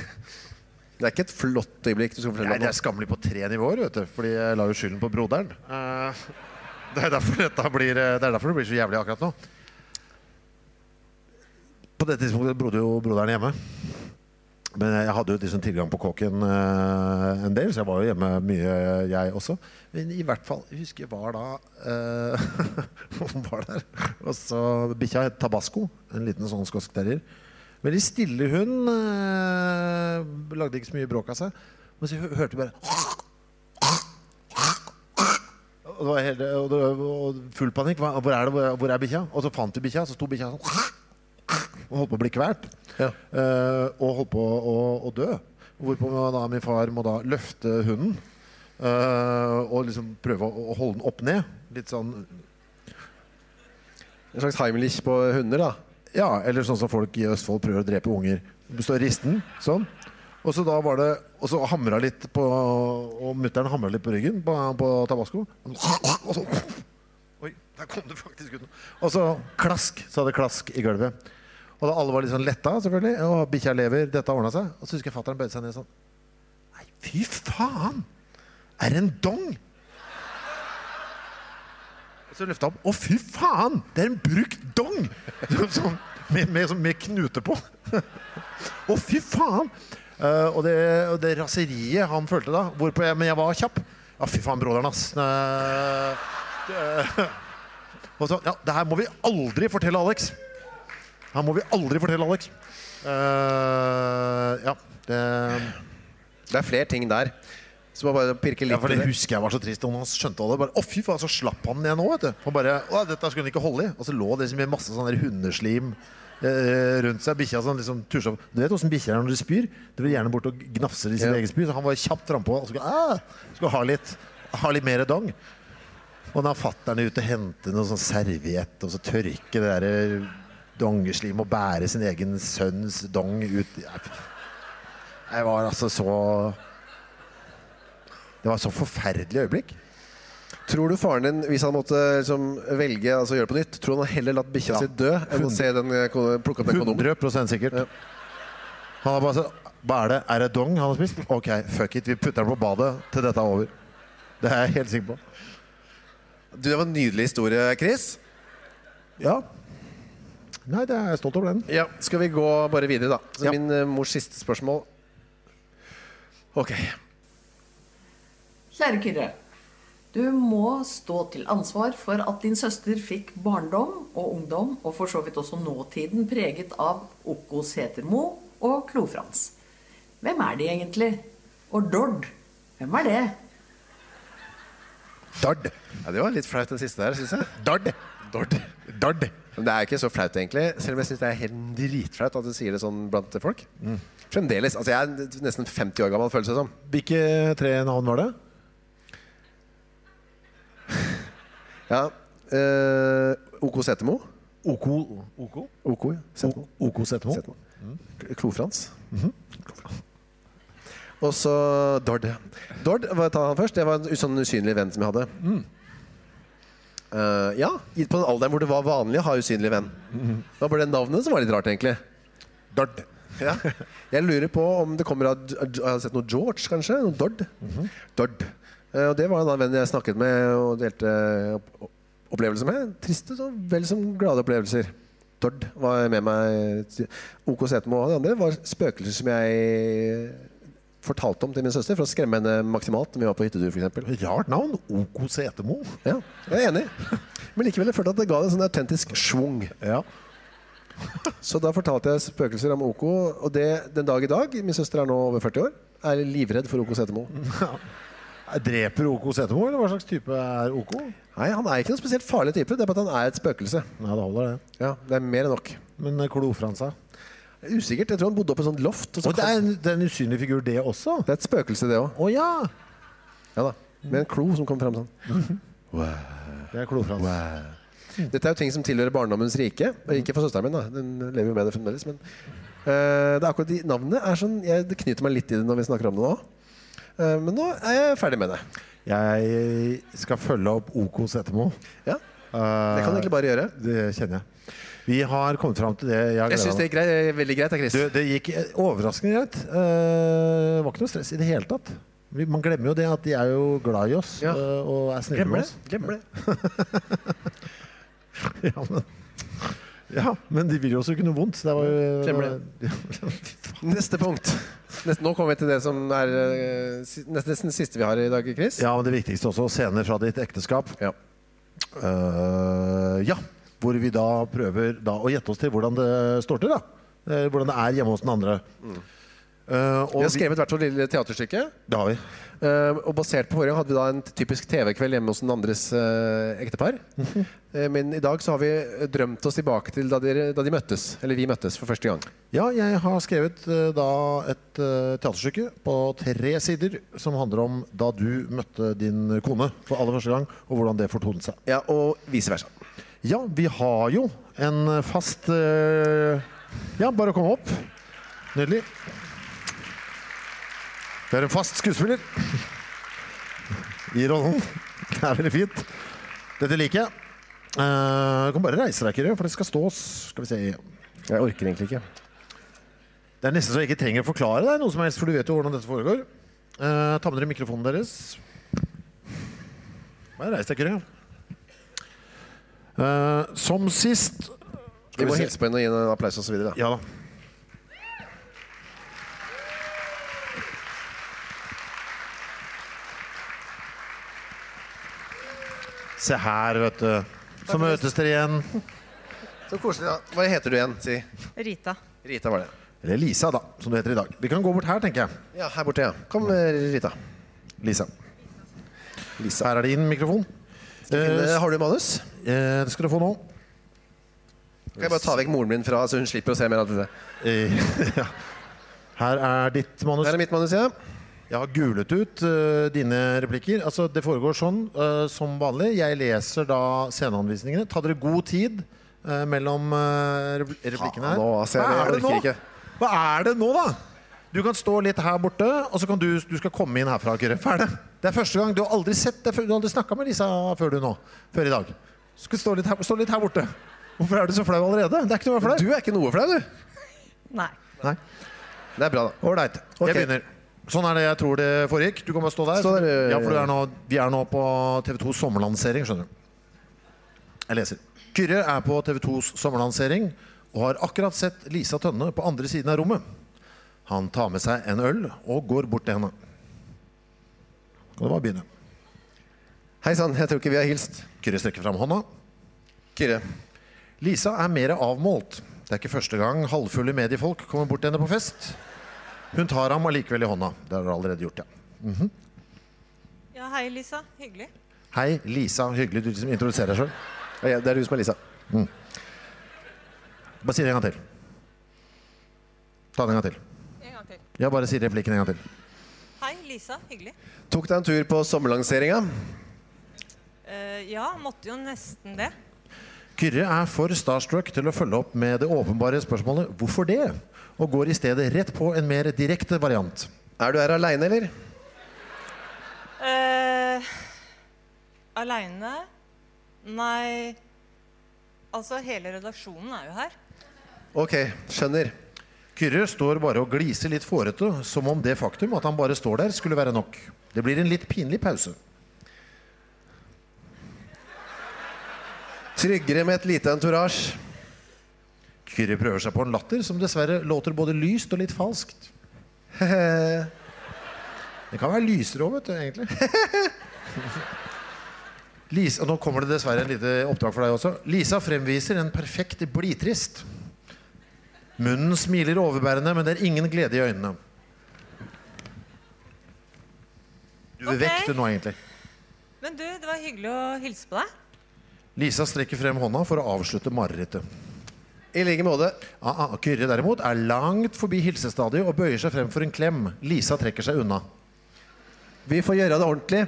Speaker 1: er ikke et flott øyeblikk du skal fortelle
Speaker 2: Nei,
Speaker 1: om.
Speaker 2: det
Speaker 1: nå.
Speaker 2: er skammelig på tre nivåer, vet du. Fordi jeg la jo skylden på broderen. Eh, Det er derfor, dette blir, eh, det er derfor det blir så jævlig akkurat nå. På det tidspunktet bodde jo broderen hjemme. Men jeg hadde jo liksom tilgang på kåken eh, en del, så jeg var jo hjemme mye, jeg også. Men i hvert fall, jeg husker jeg var da eh, var der. Og så bikkja het Tabasco. En liten sånn skotsk terrier. Veldig stille hund. eh, lagde ikke så mye bråk av seg. Men så hø- hørte vi bare og det var hele, og det, og full panikk. Hva, hvor er det, hvor, hvor er bikkja? Og så fant vi bikkja, så sto bikkja sånn og holdt på å bli kvalt.
Speaker 1: Ja.
Speaker 2: Eh, og holdt på å, å dø. Hvorpå da min far må da løfte hunden eh, og liksom prøve å, å holde den opp ned. Litt sånn
Speaker 1: En slags Heimlich på hunder, da.
Speaker 2: Ja, eller sånn som folk i Østfold prøver å drepe unger. Du står i risten, sånn. Og så da var det Og så hamra litt på Og mutter'n hamra litt på ryggen på, på tabasco. Og så Oi, der kom det faktisk ut noe. Og så klask, så hadde klask i gulvet. Og da alle var litt sånn letta, selvfølgelig. Og bikkja lever, dette ordna seg. Og så husker jeg fatter'n bøyde seg ned sånn. Nei, fy faen! Er det en dong? Og så løfta han opp. Å, fy faen! Det er en brukt dong! Sånn, med, med, sånn- med knute på. Å, fy faen! Eh, og, det, og det raseriet han følte da, hvorpå jeg, men jeg var kjapp. Ja, fy faen, broderen, ass. Eh, det- eh, og så, ja, det her må vi aldri fortelle Alex. Her må vi aldri fortelle Alex. Eh, ja, det
Speaker 1: Det er flere ting der. Så må bare pirke litt
Speaker 2: ja, for det
Speaker 1: i det.
Speaker 2: husker jeg var så trist Og han skjønte alle bare, Å fy faen, så slapp han ned nå, vet du Han bare, å, dette skulle han ikke holde i Og så lå det liksom i masse sånn der hundeslim eh, Rundt seg, bikkja sånn liksom tursa opp. Du vet hvordan bikkjer er når de spyr De vil gjerne bort og gnafse i sin
Speaker 1: Ja.
Speaker 2: egen spyr Så han var kjapt frampå Og skulle, «Æ!» skulle ha litt, ha litt mer dong Og da fatterne ut og hente noe sånn serviett Og så tørke det der eh, dongeslim Og bære sin egen sønns dong ut Jeg jeg var altså så Det var et så forferdelig øyeblikk.
Speaker 1: Tror du faren din, hvis han måtte liksom, velge altså, gjøre det på nytt, tror han hadde heller latt bikkja
Speaker 2: Ja.
Speaker 1: si dø enn å se den, eh, kon- plukke opp den kondomen?
Speaker 2: 100 sikkert. Han har bare sagt Hva er det? Er det dong han har spist? Ok, fuck it. Vi putter den på badet til dette er over. Det er jeg helt sikker på.
Speaker 1: Du, det var en nydelig historie, Chris.
Speaker 2: Ja. Nei, det er jeg stolt over den.
Speaker 1: Ja, skal vi gå bare videre da Så
Speaker 2: Ja.
Speaker 1: Min eh, mors siste spørsmål Ok
Speaker 4: Kjære Kyrre. Du må stå til ansvar for at din søster fikk barndom og ungdom, og for så vidt også nåtiden, preget av Okko Setermo og Klo-Frans. Hvem er de egentlig? Og Dord, hvem er det?
Speaker 2: Dard.
Speaker 1: Ja, det var litt flaut den siste der, synes jeg
Speaker 2: Dard. Dard. Dard.
Speaker 1: Men det er ikke så flaut egentlig Selv om jeg synes det er helt dritflaut at du sier det sånn blant folk
Speaker 2: Mm.
Speaker 1: Fremdeles, altså jeg er nesten 50 år gammel følelse som
Speaker 2: Hvilke tre navn var det?
Speaker 1: Ja eh, OK Setemo
Speaker 2: Oko Oko?
Speaker 1: OK, ja Setemo
Speaker 2: Oko Setemo.
Speaker 1: Setemo
Speaker 2: Mm.
Speaker 1: Klofrans
Speaker 2: Mhm.
Speaker 1: Og så Dord Dord, hva tar han først? Det var en sånn usynlig venn som jeg hadde Eh, Ja, i- på den alderen hvor det var vanlig å ha usynlig venn Da var det navnet som var litt rart egentlig
Speaker 2: Dard.
Speaker 1: ja. Jeg lurer på om det kommer av Jeg har sett noe George kanskje, noe Dord Dord Eh, Og det var en annen venn jeg snakket med og delte opp- opp- opplevelser med Triste så vel som glade opplevelser Dord var med meg OK Setemo og de andre var spøkelser som jeg fortalte om til min søster For å skremme henne maksimalt når vi var på hyttetur for eksempel
Speaker 2: Rart navn. Oko Setemo.
Speaker 1: ja, jeg er enig. Men likevel jeg følte at det ga det en sånn autentisk schwung.
Speaker 2: Ja.
Speaker 1: Så da fortalte jeg spøkelser om Oko, og det den dag i dag, min søster er nå over 40 år, er livredd for Oko Setemo.
Speaker 2: Dreper Oko Setemo, eller hva slags type er Oko?
Speaker 1: Nei, han er ikke noen spesielt farlig type, det er bare at han er et spøkelse.
Speaker 2: Nei, det holder, det.
Speaker 1: Ja, det er mer enn nok.
Speaker 2: Men eh, klofransa
Speaker 1: Usikkert, jeg tror han bodde oppe i et sånt loft. Og så
Speaker 2: Og det er, en, det er en usynlig figur, det også.
Speaker 1: det er et spøkelse det også.
Speaker 2: Å ja!
Speaker 1: Ja da, med en klo som kom frem sånn.
Speaker 2: Det er klofrans.
Speaker 1: Dette er jo ting som tilhører barndommens rike. og Ikke for søsteren min, da. Den lever jo med det fremdeles. Men eh, det er akkurat de navnene er sånn jeg, Det knyter meg litt i det når vi snakker om det nå. Eh, men nå er jeg ferdig med det.
Speaker 2: Jeg skal følge opp Oko Setemo.
Speaker 1: Ja, Det kan du egentlig bare gjøre.
Speaker 2: Det kjenner jeg. Vi har kommet fram til det jeg har
Speaker 1: Jeg syns
Speaker 2: gledet meg
Speaker 1: det gikk grei, eh, veldig greit, da, Chris.
Speaker 2: Du, Det gikk eh, overraskende greit. Eh, Det var ikke noe stress i det hele tatt. Vi, man glemmer jo det at de er jo glad i oss
Speaker 1: Ja.
Speaker 2: eh, og er snille
Speaker 1: glemmer
Speaker 2: med
Speaker 1: det.
Speaker 2: oss.
Speaker 1: Glemmer det.
Speaker 2: Ja men, ja, men de vil jo også ikke noe vondt. så Det var jo,
Speaker 1: Glemmer Neste punkt. Nest, nå kommer vi til det som er eh, si- nest- nesten siste vi har i dag, Chris.
Speaker 2: Ja, men det viktigste også, scener fra ditt ekteskap.
Speaker 1: Ja.
Speaker 2: Eh, ja, hvor vi da prøver da å gjette oss til hvordan det står til. da. Eh, hvordan det er hjemme hos den andre. Eh, og
Speaker 1: Vi har skrevet hvert vårt lille teaterstykke.
Speaker 2: vi, det har vi.
Speaker 1: Eh, og basert på forrige gang hadde vi da en typisk TV-kveld hjemme hos den andres eh, ektepar. Eh, men i dag så har vi eh, drømt oss tilbake til da, dere, da de møttes. Eller vi møttes for første gang.
Speaker 2: Ja, jeg har skrevet eh, da et eh, teaterstykke på tre sider som handler om da du møtte din kone for aller første gang, og hvordan det fortonet seg.
Speaker 1: Ja, Og vice versa.
Speaker 2: Ja, vi har jo en fast eh, Ja, bare kom opp. Nydelig. Vi har en fast skuespiller i rollen. Det er veldig fint. Dette liker jeg. Eh, du kan bare reise deg, Kyrre, for det skal stås. Skal vi se. Det
Speaker 1: Jeg orker egentlig ikke.
Speaker 2: er nesten så jeg ikke trenger å forklare deg noe som helst, for du vet jo hvordan dette foregår. Eh, ta med dere mikrofonen deres. Bare reis deg, Kyrre. Eh, som sist
Speaker 1: Vi må
Speaker 2: se.
Speaker 1: hilse på henne og gi henne en applaus osv. Ja.
Speaker 2: Ja da. Se her, vet du. Så møtes dere igjen.
Speaker 1: Så koselig, da. Hva heter du igjen? Si.
Speaker 5: Rita.
Speaker 1: Rita var det.
Speaker 2: Eller Lisa, da, som du heter i dag. Vi kan gå bort her, tenker jeg.
Speaker 1: Ja, her borte, ja. Kom, eh, Rita.
Speaker 2: Lisa.
Speaker 1: Lisa.
Speaker 2: Her er din mikrofon.
Speaker 1: Eh,
Speaker 2: Eh,
Speaker 1: har du manus?
Speaker 2: eh, det skal du få nå.
Speaker 1: Kan jeg bare ta vekk moren min fra, så hun slipper å se mer av dette?
Speaker 2: Eh, ja. Her er ditt manus.
Speaker 1: Her er mitt manus, ja.
Speaker 2: Jeg har gulet ut øh, dine replikker. Altså, det foregår sånn øh, som vanlig. Jeg leser da sceneanvisningene. Ta dere god tid øh, mellom øh, repl- replikkene her.
Speaker 1: nå, altså, jeg- jeg orker ikke.
Speaker 2: Hva er det nå, da? Du kan stå litt her borte, og så kan du, du skal komme inn herfra. Kyrre. Ferdig. Det er første gang. Du har aldri sett det før. Du har aldri snakka med Lisa før du nå. Før i dag. Du skal stå litt, her, stå litt her borte. Hvorfor er du så flau allerede? Det er ikke noe å være
Speaker 1: Du
Speaker 2: flau.
Speaker 1: er ikke noe flau, du.
Speaker 5: Nei.
Speaker 2: Nei.
Speaker 1: Det er bra, da.
Speaker 2: Ålreit.
Speaker 1: Ok.
Speaker 2: Jeg begynner. Sånn er det jeg tror det foregikk. Du kan bare stå der.
Speaker 1: Stå der, øh,
Speaker 2: ja, for du er nå, Vi er nå på TV2s sommerlansering, skjønner du. Jeg leser. Kyrre er på TV2s sommerlansering og har akkurat sett Lisa Tønne på andre siden av rommet. Han tar med seg en øl og går bort til henne. Kan du bare begynne.
Speaker 1: Hei sann, jeg tror ikke vi har hilst.
Speaker 2: Kyrre strekker fram hånda.
Speaker 1: Kyrre.
Speaker 2: Lisa er mer avmålt. Det er ikke første gang halvfulle mediefolk kommer bort til henne på fest. Hun tar ham allikevel i hånda. Det har hun allerede gjort, ja.
Speaker 5: Ja, hei, Lisa. Hyggelig.
Speaker 2: Hei, Lisa. Hyggelig du liksom introduserer deg sjøl.
Speaker 1: Ja, ja, Det er du som er Lisa.
Speaker 2: Bare si det en gang til. Ta det en gang til.
Speaker 5: En gang til.
Speaker 2: Ja, bare si replikken en gang til.
Speaker 5: Hei, Lisa. Hyggelig.
Speaker 1: Tok deg en tur på sommerlanseringa.
Speaker 5: Eh, ja, måtte jo nesten det.
Speaker 2: Kyrre er for starstruck til å følge opp med det åpenbare spørsmålet 'Hvorfor det?' og går i stedet rett på en mer direkte variant.
Speaker 1: Er du her aleine, eller?
Speaker 5: Uh, Aleine? Nei Altså, hele redaksjonen er jo her.
Speaker 1: Ok, skjønner.
Speaker 2: Kyrre står bare og gliser litt fårete, som om det faktum at han bare står der, skulle være nok. Det blir en litt pinlig pause.
Speaker 1: Tryggere med et lite entourage.
Speaker 2: Kyrre prøver seg på en latter som dessverre låter både lyst og litt falskt. Det kan være lysere òg, vet du, egentlig. Lisa, nå kommer det dessverre et lite oppdrag for deg også. Lisa fremviser en perfekt blidtrist. Munnen smiler overbærende, men det er ingen glede i øynene. Du er
Speaker 5: Ok.
Speaker 2: vekk du nå, egentlig.
Speaker 5: Men du, det var hyggelig å hilse på deg.
Speaker 2: Lisa strekker frem hånda for å avslutte marerittet.
Speaker 1: I like måte.
Speaker 2: Ah, ah, Kyrre derimot er langt forbi hilsestadiet og bøyer seg frem for en klem. Lisa trekker seg unna.
Speaker 1: Vi får gjøre det ordentlig.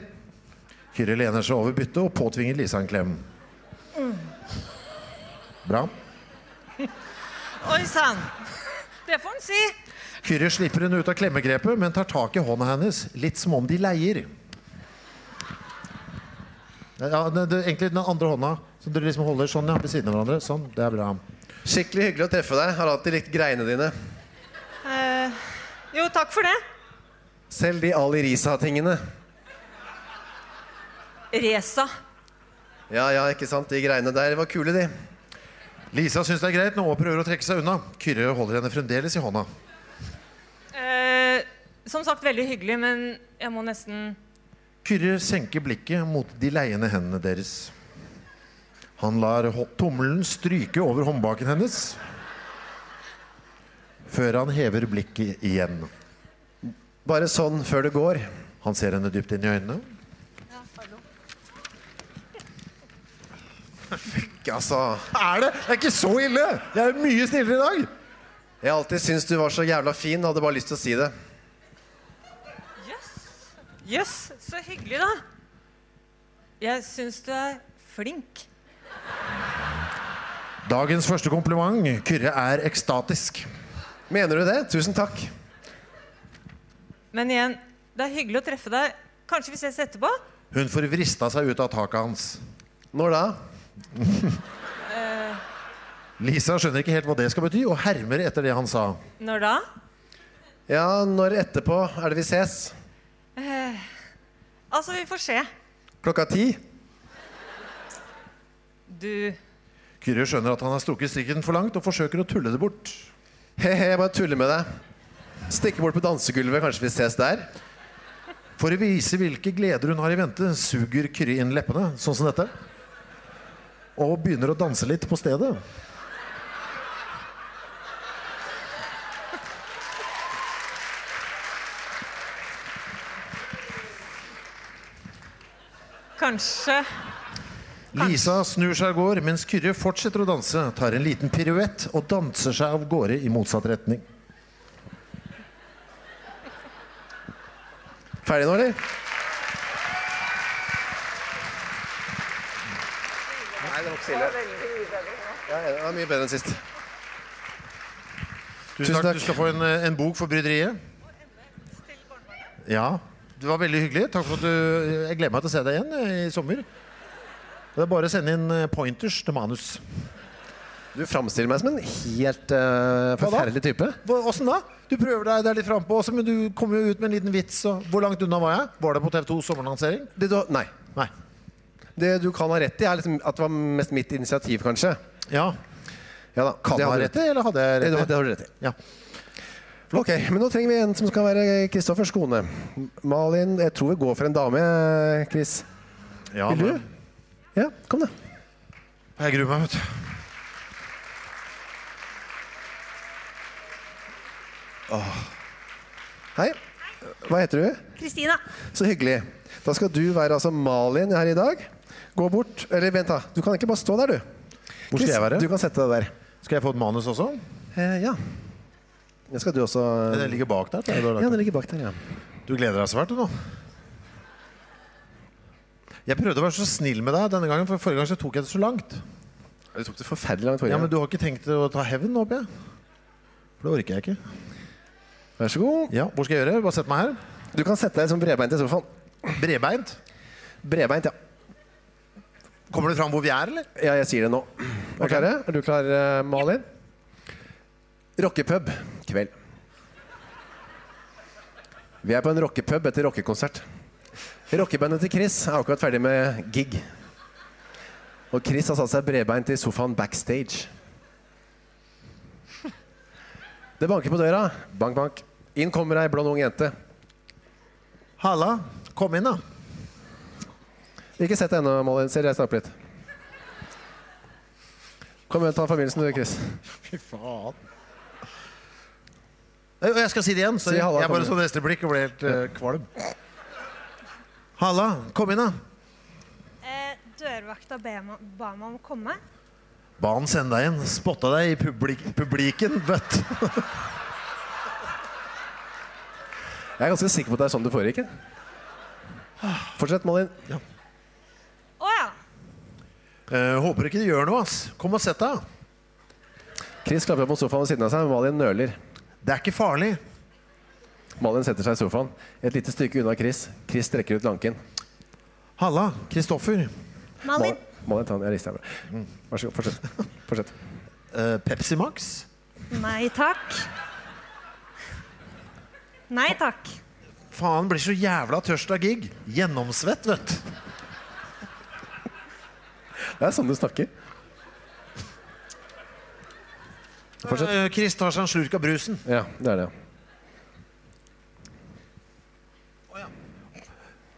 Speaker 2: Kyrre lener seg over byttet og påtvinger Lisa en klem. Bra.
Speaker 5: Oi sann! Det får en si.
Speaker 2: Kyrre slipper henne ut av klemmegrepet, men tar tak i hånda hennes, litt som om de leier. Ja, det, det, egentlig den andre hånda, som dere liksom holder sånn ja, ved siden av hverandre. Sånn, det er bra.
Speaker 1: Skikkelig hyggelig å treffe deg. Har alltid likt greiene dine.
Speaker 5: Eh, jo, takk for det.
Speaker 1: Selv de Ali Risa-tingene.
Speaker 5: Reza.
Speaker 1: Ja, ja, ikke sant. De greiene der var kule, de.
Speaker 2: Lisa syns det er greit nå og prøver å trekke seg unna. Kyrre holder henne fremdeles i hånda.
Speaker 5: Eh, som sagt, veldig hyggelig, men jeg må nesten
Speaker 2: Kyrre senker blikket mot de leiende hendene deres. Han lar ho- tommelen stryke over håndbaken hennes før han hever blikket igjen.
Speaker 1: Bare sånn før du går.
Speaker 2: Han ser henne dypt inn i øynene.
Speaker 1: Ikke, altså.
Speaker 2: Er det? Det er ikke så ille! Jeg er mye snillere i dag!
Speaker 1: Jeg har alltid syntes du var så jævla fin. Hadde bare lyst til å si det.
Speaker 5: Jøss. Jøss, så hyggelig, da. Jeg syns du er flink.
Speaker 2: Dagens første kompliment. Kyrre er ekstatisk.
Speaker 1: Mener du det? Tusen takk.
Speaker 5: Men igjen, det er hyggelig å treffe deg. Kanskje vi ses etterpå?
Speaker 2: Hun får vrista seg ut av taket hans.
Speaker 1: Når da?
Speaker 2: Lisa skjønner ikke helt hva det skal bety, og hermer etter det han sa.
Speaker 5: Når da?
Speaker 1: Ja, når etterpå er det vi ses?
Speaker 5: Altså, vi får se.
Speaker 1: Klokka ti?
Speaker 5: Du
Speaker 2: Kyrre skjønner at han har strukket strikken for langt, og forsøker å tulle det bort.
Speaker 1: He-he, jeg bare tuller med deg. Stikke bort på dansegulvet, kanskje vi ses der?
Speaker 2: For å vise hvilke gleder hun har i vente, suger Kyrre inn leppene, sånn som dette. Og begynner å danse litt på stedet.
Speaker 5: Kanskje
Speaker 2: Lisa snur seg og går, mens Kyrre fortsetter å danse, tar en liten piruett og danser seg av gårde i motsatt retning.
Speaker 1: Ferdig nå, eller? Nei, det var ikke så ille. Ja, ja, det var mye bedre enn sist.
Speaker 2: Tusen
Speaker 1: takk.
Speaker 2: takk. Du skal få en, eh, en bok for bryderiet. Ja, det var veldig hyggelig. Takk for at du Jeg gleder meg til å se deg igjen eh, i sommer. Det er bare å sende inn eh, pointers til manus.
Speaker 1: Du framstiller meg som en helt eh, forferdelig type.
Speaker 2: Hva- Åssen da? Du prøver deg der litt frampå også, men du kom jo ut med en liten vits. Og hvor langt unna var jeg? Var det på TV 2 sommerlansering?
Speaker 1: Det du, nei.
Speaker 2: Nei.
Speaker 1: Det du kan ha rett i, er liksom at det var mest mitt initiativ, kanskje.
Speaker 2: Ja.
Speaker 1: Ja da,
Speaker 2: Kan
Speaker 1: det
Speaker 2: jeg
Speaker 1: hadde
Speaker 2: ha
Speaker 1: du
Speaker 2: rett i, eller hadde jeg
Speaker 1: Det,
Speaker 2: rett i?
Speaker 1: det har du rett i.
Speaker 2: Ja.
Speaker 1: Ok, men nå trenger vi en som skal være Kristoffers kone. Malin, jeg tror vi går for en dame, Chris.
Speaker 2: ja
Speaker 1: Vil du?
Speaker 2: men-
Speaker 1: Ja, kom da.
Speaker 2: Jeg gruer meg, vet du.
Speaker 1: Hei. Hva heter du?
Speaker 6: Kristina.
Speaker 1: Så hyggelig. Da skal du være altså Malin her i dag. Gå bort Eller vent, da. Du kan ikke bare stå der, du.
Speaker 2: Hvor skal jeg være?
Speaker 1: Du kan sette deg der.
Speaker 2: Skal jeg få et manus også?
Speaker 1: Eh, ja. Det skal du også
Speaker 2: Den ligger bak der. tror jeg du har lagt
Speaker 1: Ja,
Speaker 2: den.
Speaker 1: den ligger bak der, ja.
Speaker 2: Du gleder deg svært, du nå. Jeg prøvde å være så snill med deg denne gangen, for forrige gang så tok jeg det så langt.
Speaker 1: Du tok det forferdelig langt
Speaker 2: Ja,
Speaker 1: forrige
Speaker 2: Men
Speaker 1: gang.
Speaker 2: du har ikke tenkt å ta hevn, håper jeg? For det orker jeg ikke.
Speaker 1: Vær så god.
Speaker 2: Ja, Hvor skal jeg gjøre? Bare sett meg her.
Speaker 1: Du kan sette deg som bredbeint i sofaen.
Speaker 2: Bredbeint.
Speaker 1: Bredbeint, ja.
Speaker 2: Kommer det fram hvor vi er, eller?
Speaker 1: Ja, jeg sier det nå. Er du klare? Er du klar, eh, Malin? Rockepub kveld. Vi er på en rockepub etter rockekonsert. Rockebandet til Chris er akkurat ferdig med gig. Og Chris har satt seg bredbeint i sofaen backstage. Det banker på døra. Bank, bank. Inn kommer ei blond ung jente.
Speaker 2: Halla. Kom inn, da.
Speaker 1: Ikke sett det ennå, Malin. Ser jeg snakker litt. Kom igjen, ta forbindelsen du, Chris.
Speaker 2: Fy faen. Jeg skal si det igjen. Sorry.
Speaker 1: Si halla,
Speaker 2: jeg
Speaker 1: kom
Speaker 2: bare
Speaker 1: inn.
Speaker 2: så neste blikk og ble helt eh, kvalm. Halla. Kom inn, da.
Speaker 6: Eh, dørvakta be ma- ba meg om å komme.
Speaker 2: Ba han sende deg inn. Spotta deg i publik publiken, vet du.
Speaker 1: Jeg er ganske sikker på at det er sånn det foregikk. jeg. Fortsett, Malin.
Speaker 6: Å ja.
Speaker 2: Eh, håper ikke det gjør noe, ass. Kom og sett deg.
Speaker 1: Chris klapper på sofaen ved siden av seg, men Malin nøler.
Speaker 2: Det er ikke farlig.
Speaker 1: Malin setter seg i sofaen, et lite stykke unna Chris. Chris strekker ut lanken.
Speaker 2: Halla. Kristoffer.
Speaker 6: Malin.
Speaker 1: Malin, Malin tar den. Jeg rister her. bra. Vær så god, fortsett. fortsett.
Speaker 2: Eh, Pepsi Max?
Speaker 6: Nei takk. Nei takk.
Speaker 2: Faen, blir så jævla tørst av gig. Gjennomsvett, vet du.
Speaker 1: Det er sånn du snakker. Fortsett.
Speaker 2: Eh, Chris tar seg en slurk av brusen.
Speaker 1: Ja, det er det. ja.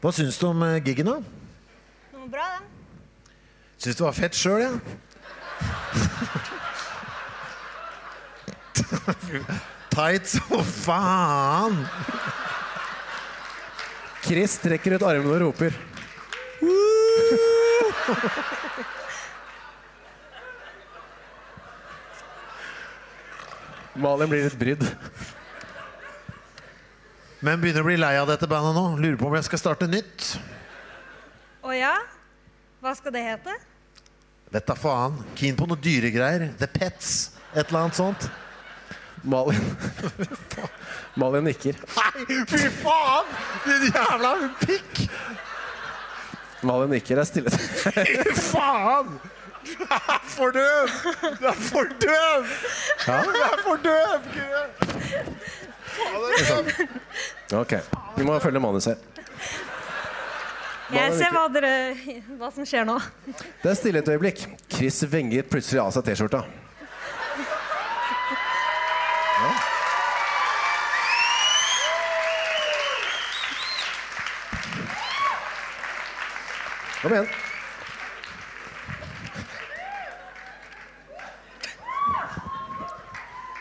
Speaker 2: Hva syns du om eh, giggen, da?
Speaker 6: Den var bra, den.
Speaker 2: Syns det var fett sjøl, jeg. Tight som faen!
Speaker 1: Chris strekker ut armene og roper. Malin blir litt brydd.
Speaker 2: Men begynner å bli lei av dette bandet nå. Lurer på om jeg skal starte nytt.
Speaker 6: Å ja? Hva skal det hete?
Speaker 2: Vet da faen. Keen på noe dyregreier. The Pets. Et eller annet sånt.
Speaker 1: Malin Malin nikker.
Speaker 2: Nei, fy faen! Din jævla pikk!
Speaker 1: Malin nikker er stille.
Speaker 2: Fy faen! Du er for døv! Du er for døv! Du er for døv, Kyrre!
Speaker 1: Ok, vi må følge manus her.
Speaker 6: Jeg
Speaker 1: Malin
Speaker 6: ser
Speaker 1: nikker.
Speaker 6: hva, dere, hva som skjer nå.
Speaker 1: Det er stille et øyeblikk. Chris venger plutselig av seg T-skjorta. Kom igjen.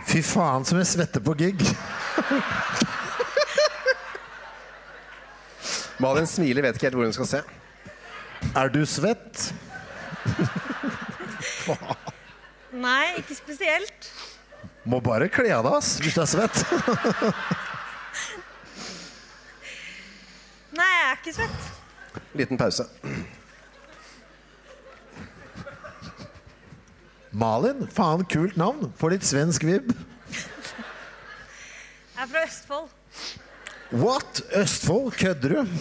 Speaker 2: Fy faen som jeg svetter på gig.
Speaker 1: Malin smiler, vet ikke helt hvor hun skal se.
Speaker 2: Er du svett?
Speaker 6: Nei, ikke spesielt.
Speaker 2: Må bare kle av deg ass, hvis du er svett.
Speaker 6: Nei, jeg er ikke svett.
Speaker 1: Liten pause.
Speaker 2: Malin, faen kult navn. Får litt svensk vibb.
Speaker 6: Jeg er fra Østfold.
Speaker 2: What? Østfold? Kødder du?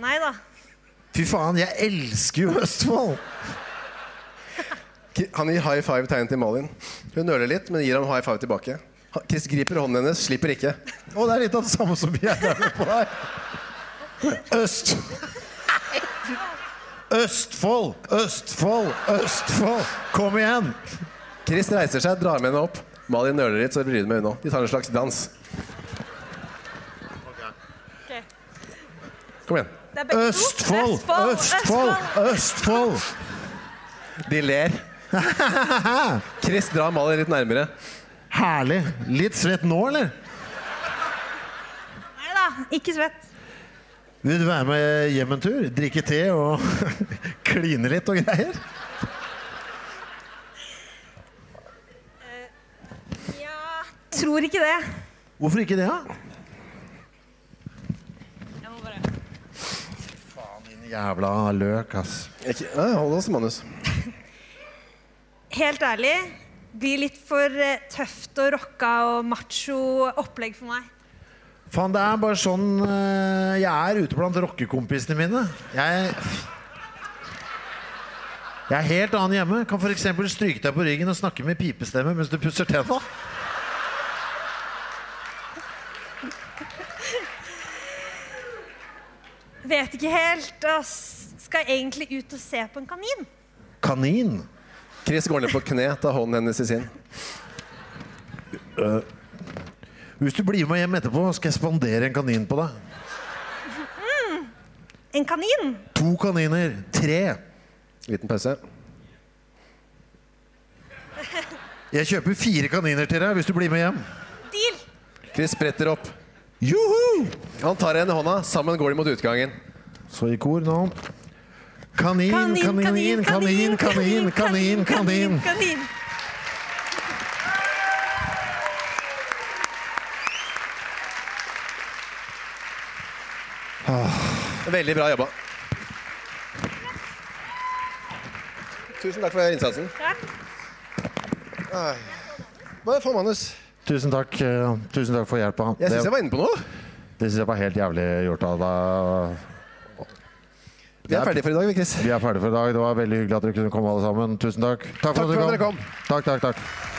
Speaker 6: Nei da.
Speaker 2: Fy faen, jeg elsker jo Østfold!
Speaker 1: Ki- Han gir high five tegnet til Malin. Hun nøler litt, men gir ham high five tilbake. Ha- Chris griper hånden hennes, slipper ikke.
Speaker 2: Å, det er litt av det samme som jeg er med på her. Øst. Østfold, Østfold, Østfold. Kom igjen!
Speaker 1: Chris reiser seg, drar med henne opp. Malin nøler litt, så bryr hun meg unna. De tar en slags dans.
Speaker 6: Ok.
Speaker 1: Kom igjen.
Speaker 6: Det er begge to.
Speaker 2: Østfold, Østfold, Østfold.
Speaker 1: De ler. Chris drar Malin litt nærmere.
Speaker 2: Herlig. Litt svett nå, eller?
Speaker 6: Nei da, ikke svett.
Speaker 2: Vil du være med hjem en tur? Drikke te og kline litt og greier?
Speaker 6: Ja, tror ikke det.
Speaker 2: Hvorfor ikke det, da?
Speaker 6: Jeg må bare
Speaker 2: Din jævla løk, ass.
Speaker 1: Ikke, nei, hold oss til manus.
Speaker 6: Helt ærlig, blir litt for eh, tøft og rocka og macho opplegg for meg.
Speaker 2: Faen, det er bare sånn eh, jeg er ute blant rockekompisene mine. Jeg Jeg er helt annen hjemme. Kan f.eks. stryke deg på ryggen og snakke med pipestemme mens du pusser tenna.
Speaker 6: Vet ikke helt. Og s- skal egentlig ut og se på en kanin.
Speaker 2: Kanin.
Speaker 1: Chris går ned på kne, tar hånden hennes i sin.
Speaker 2: Hvis du blir med hjem etterpå, skal jeg spandere en kanin på deg.
Speaker 6: En kanin?
Speaker 2: To kaniner. Tre.
Speaker 1: Liten pause.
Speaker 2: Jeg kjøper fire kaniner til deg hvis du blir med hjem.
Speaker 6: Deal!
Speaker 1: Chris spretter opp.
Speaker 2: Juhu!
Speaker 1: Han tar henne i hånda. Sammen går de mot utgangen.
Speaker 2: Så i kor nå. Kanin, kanin, kanin, kanin, kanin, kanin. kanin.
Speaker 6: kanin.
Speaker 1: Veldig bra jobba. Tusen takk for innsatsen.
Speaker 6: Takk.
Speaker 1: Bare få manus.
Speaker 2: Tusen takk, eh, tusen takk for hjelpa.
Speaker 1: Jeg syns jeg var inne på noe.
Speaker 2: Det syns jeg var helt jævlig gjort av deg.
Speaker 1: Vi er ferdige for i dag, vi, Chris.
Speaker 2: Vi er ferdige for i dag. Det var veldig hyggelig at dere kunne komme, alle sammen. Tusen takk. Takk for,
Speaker 1: Takk for at dere kom.
Speaker 2: Takk, takk, takk.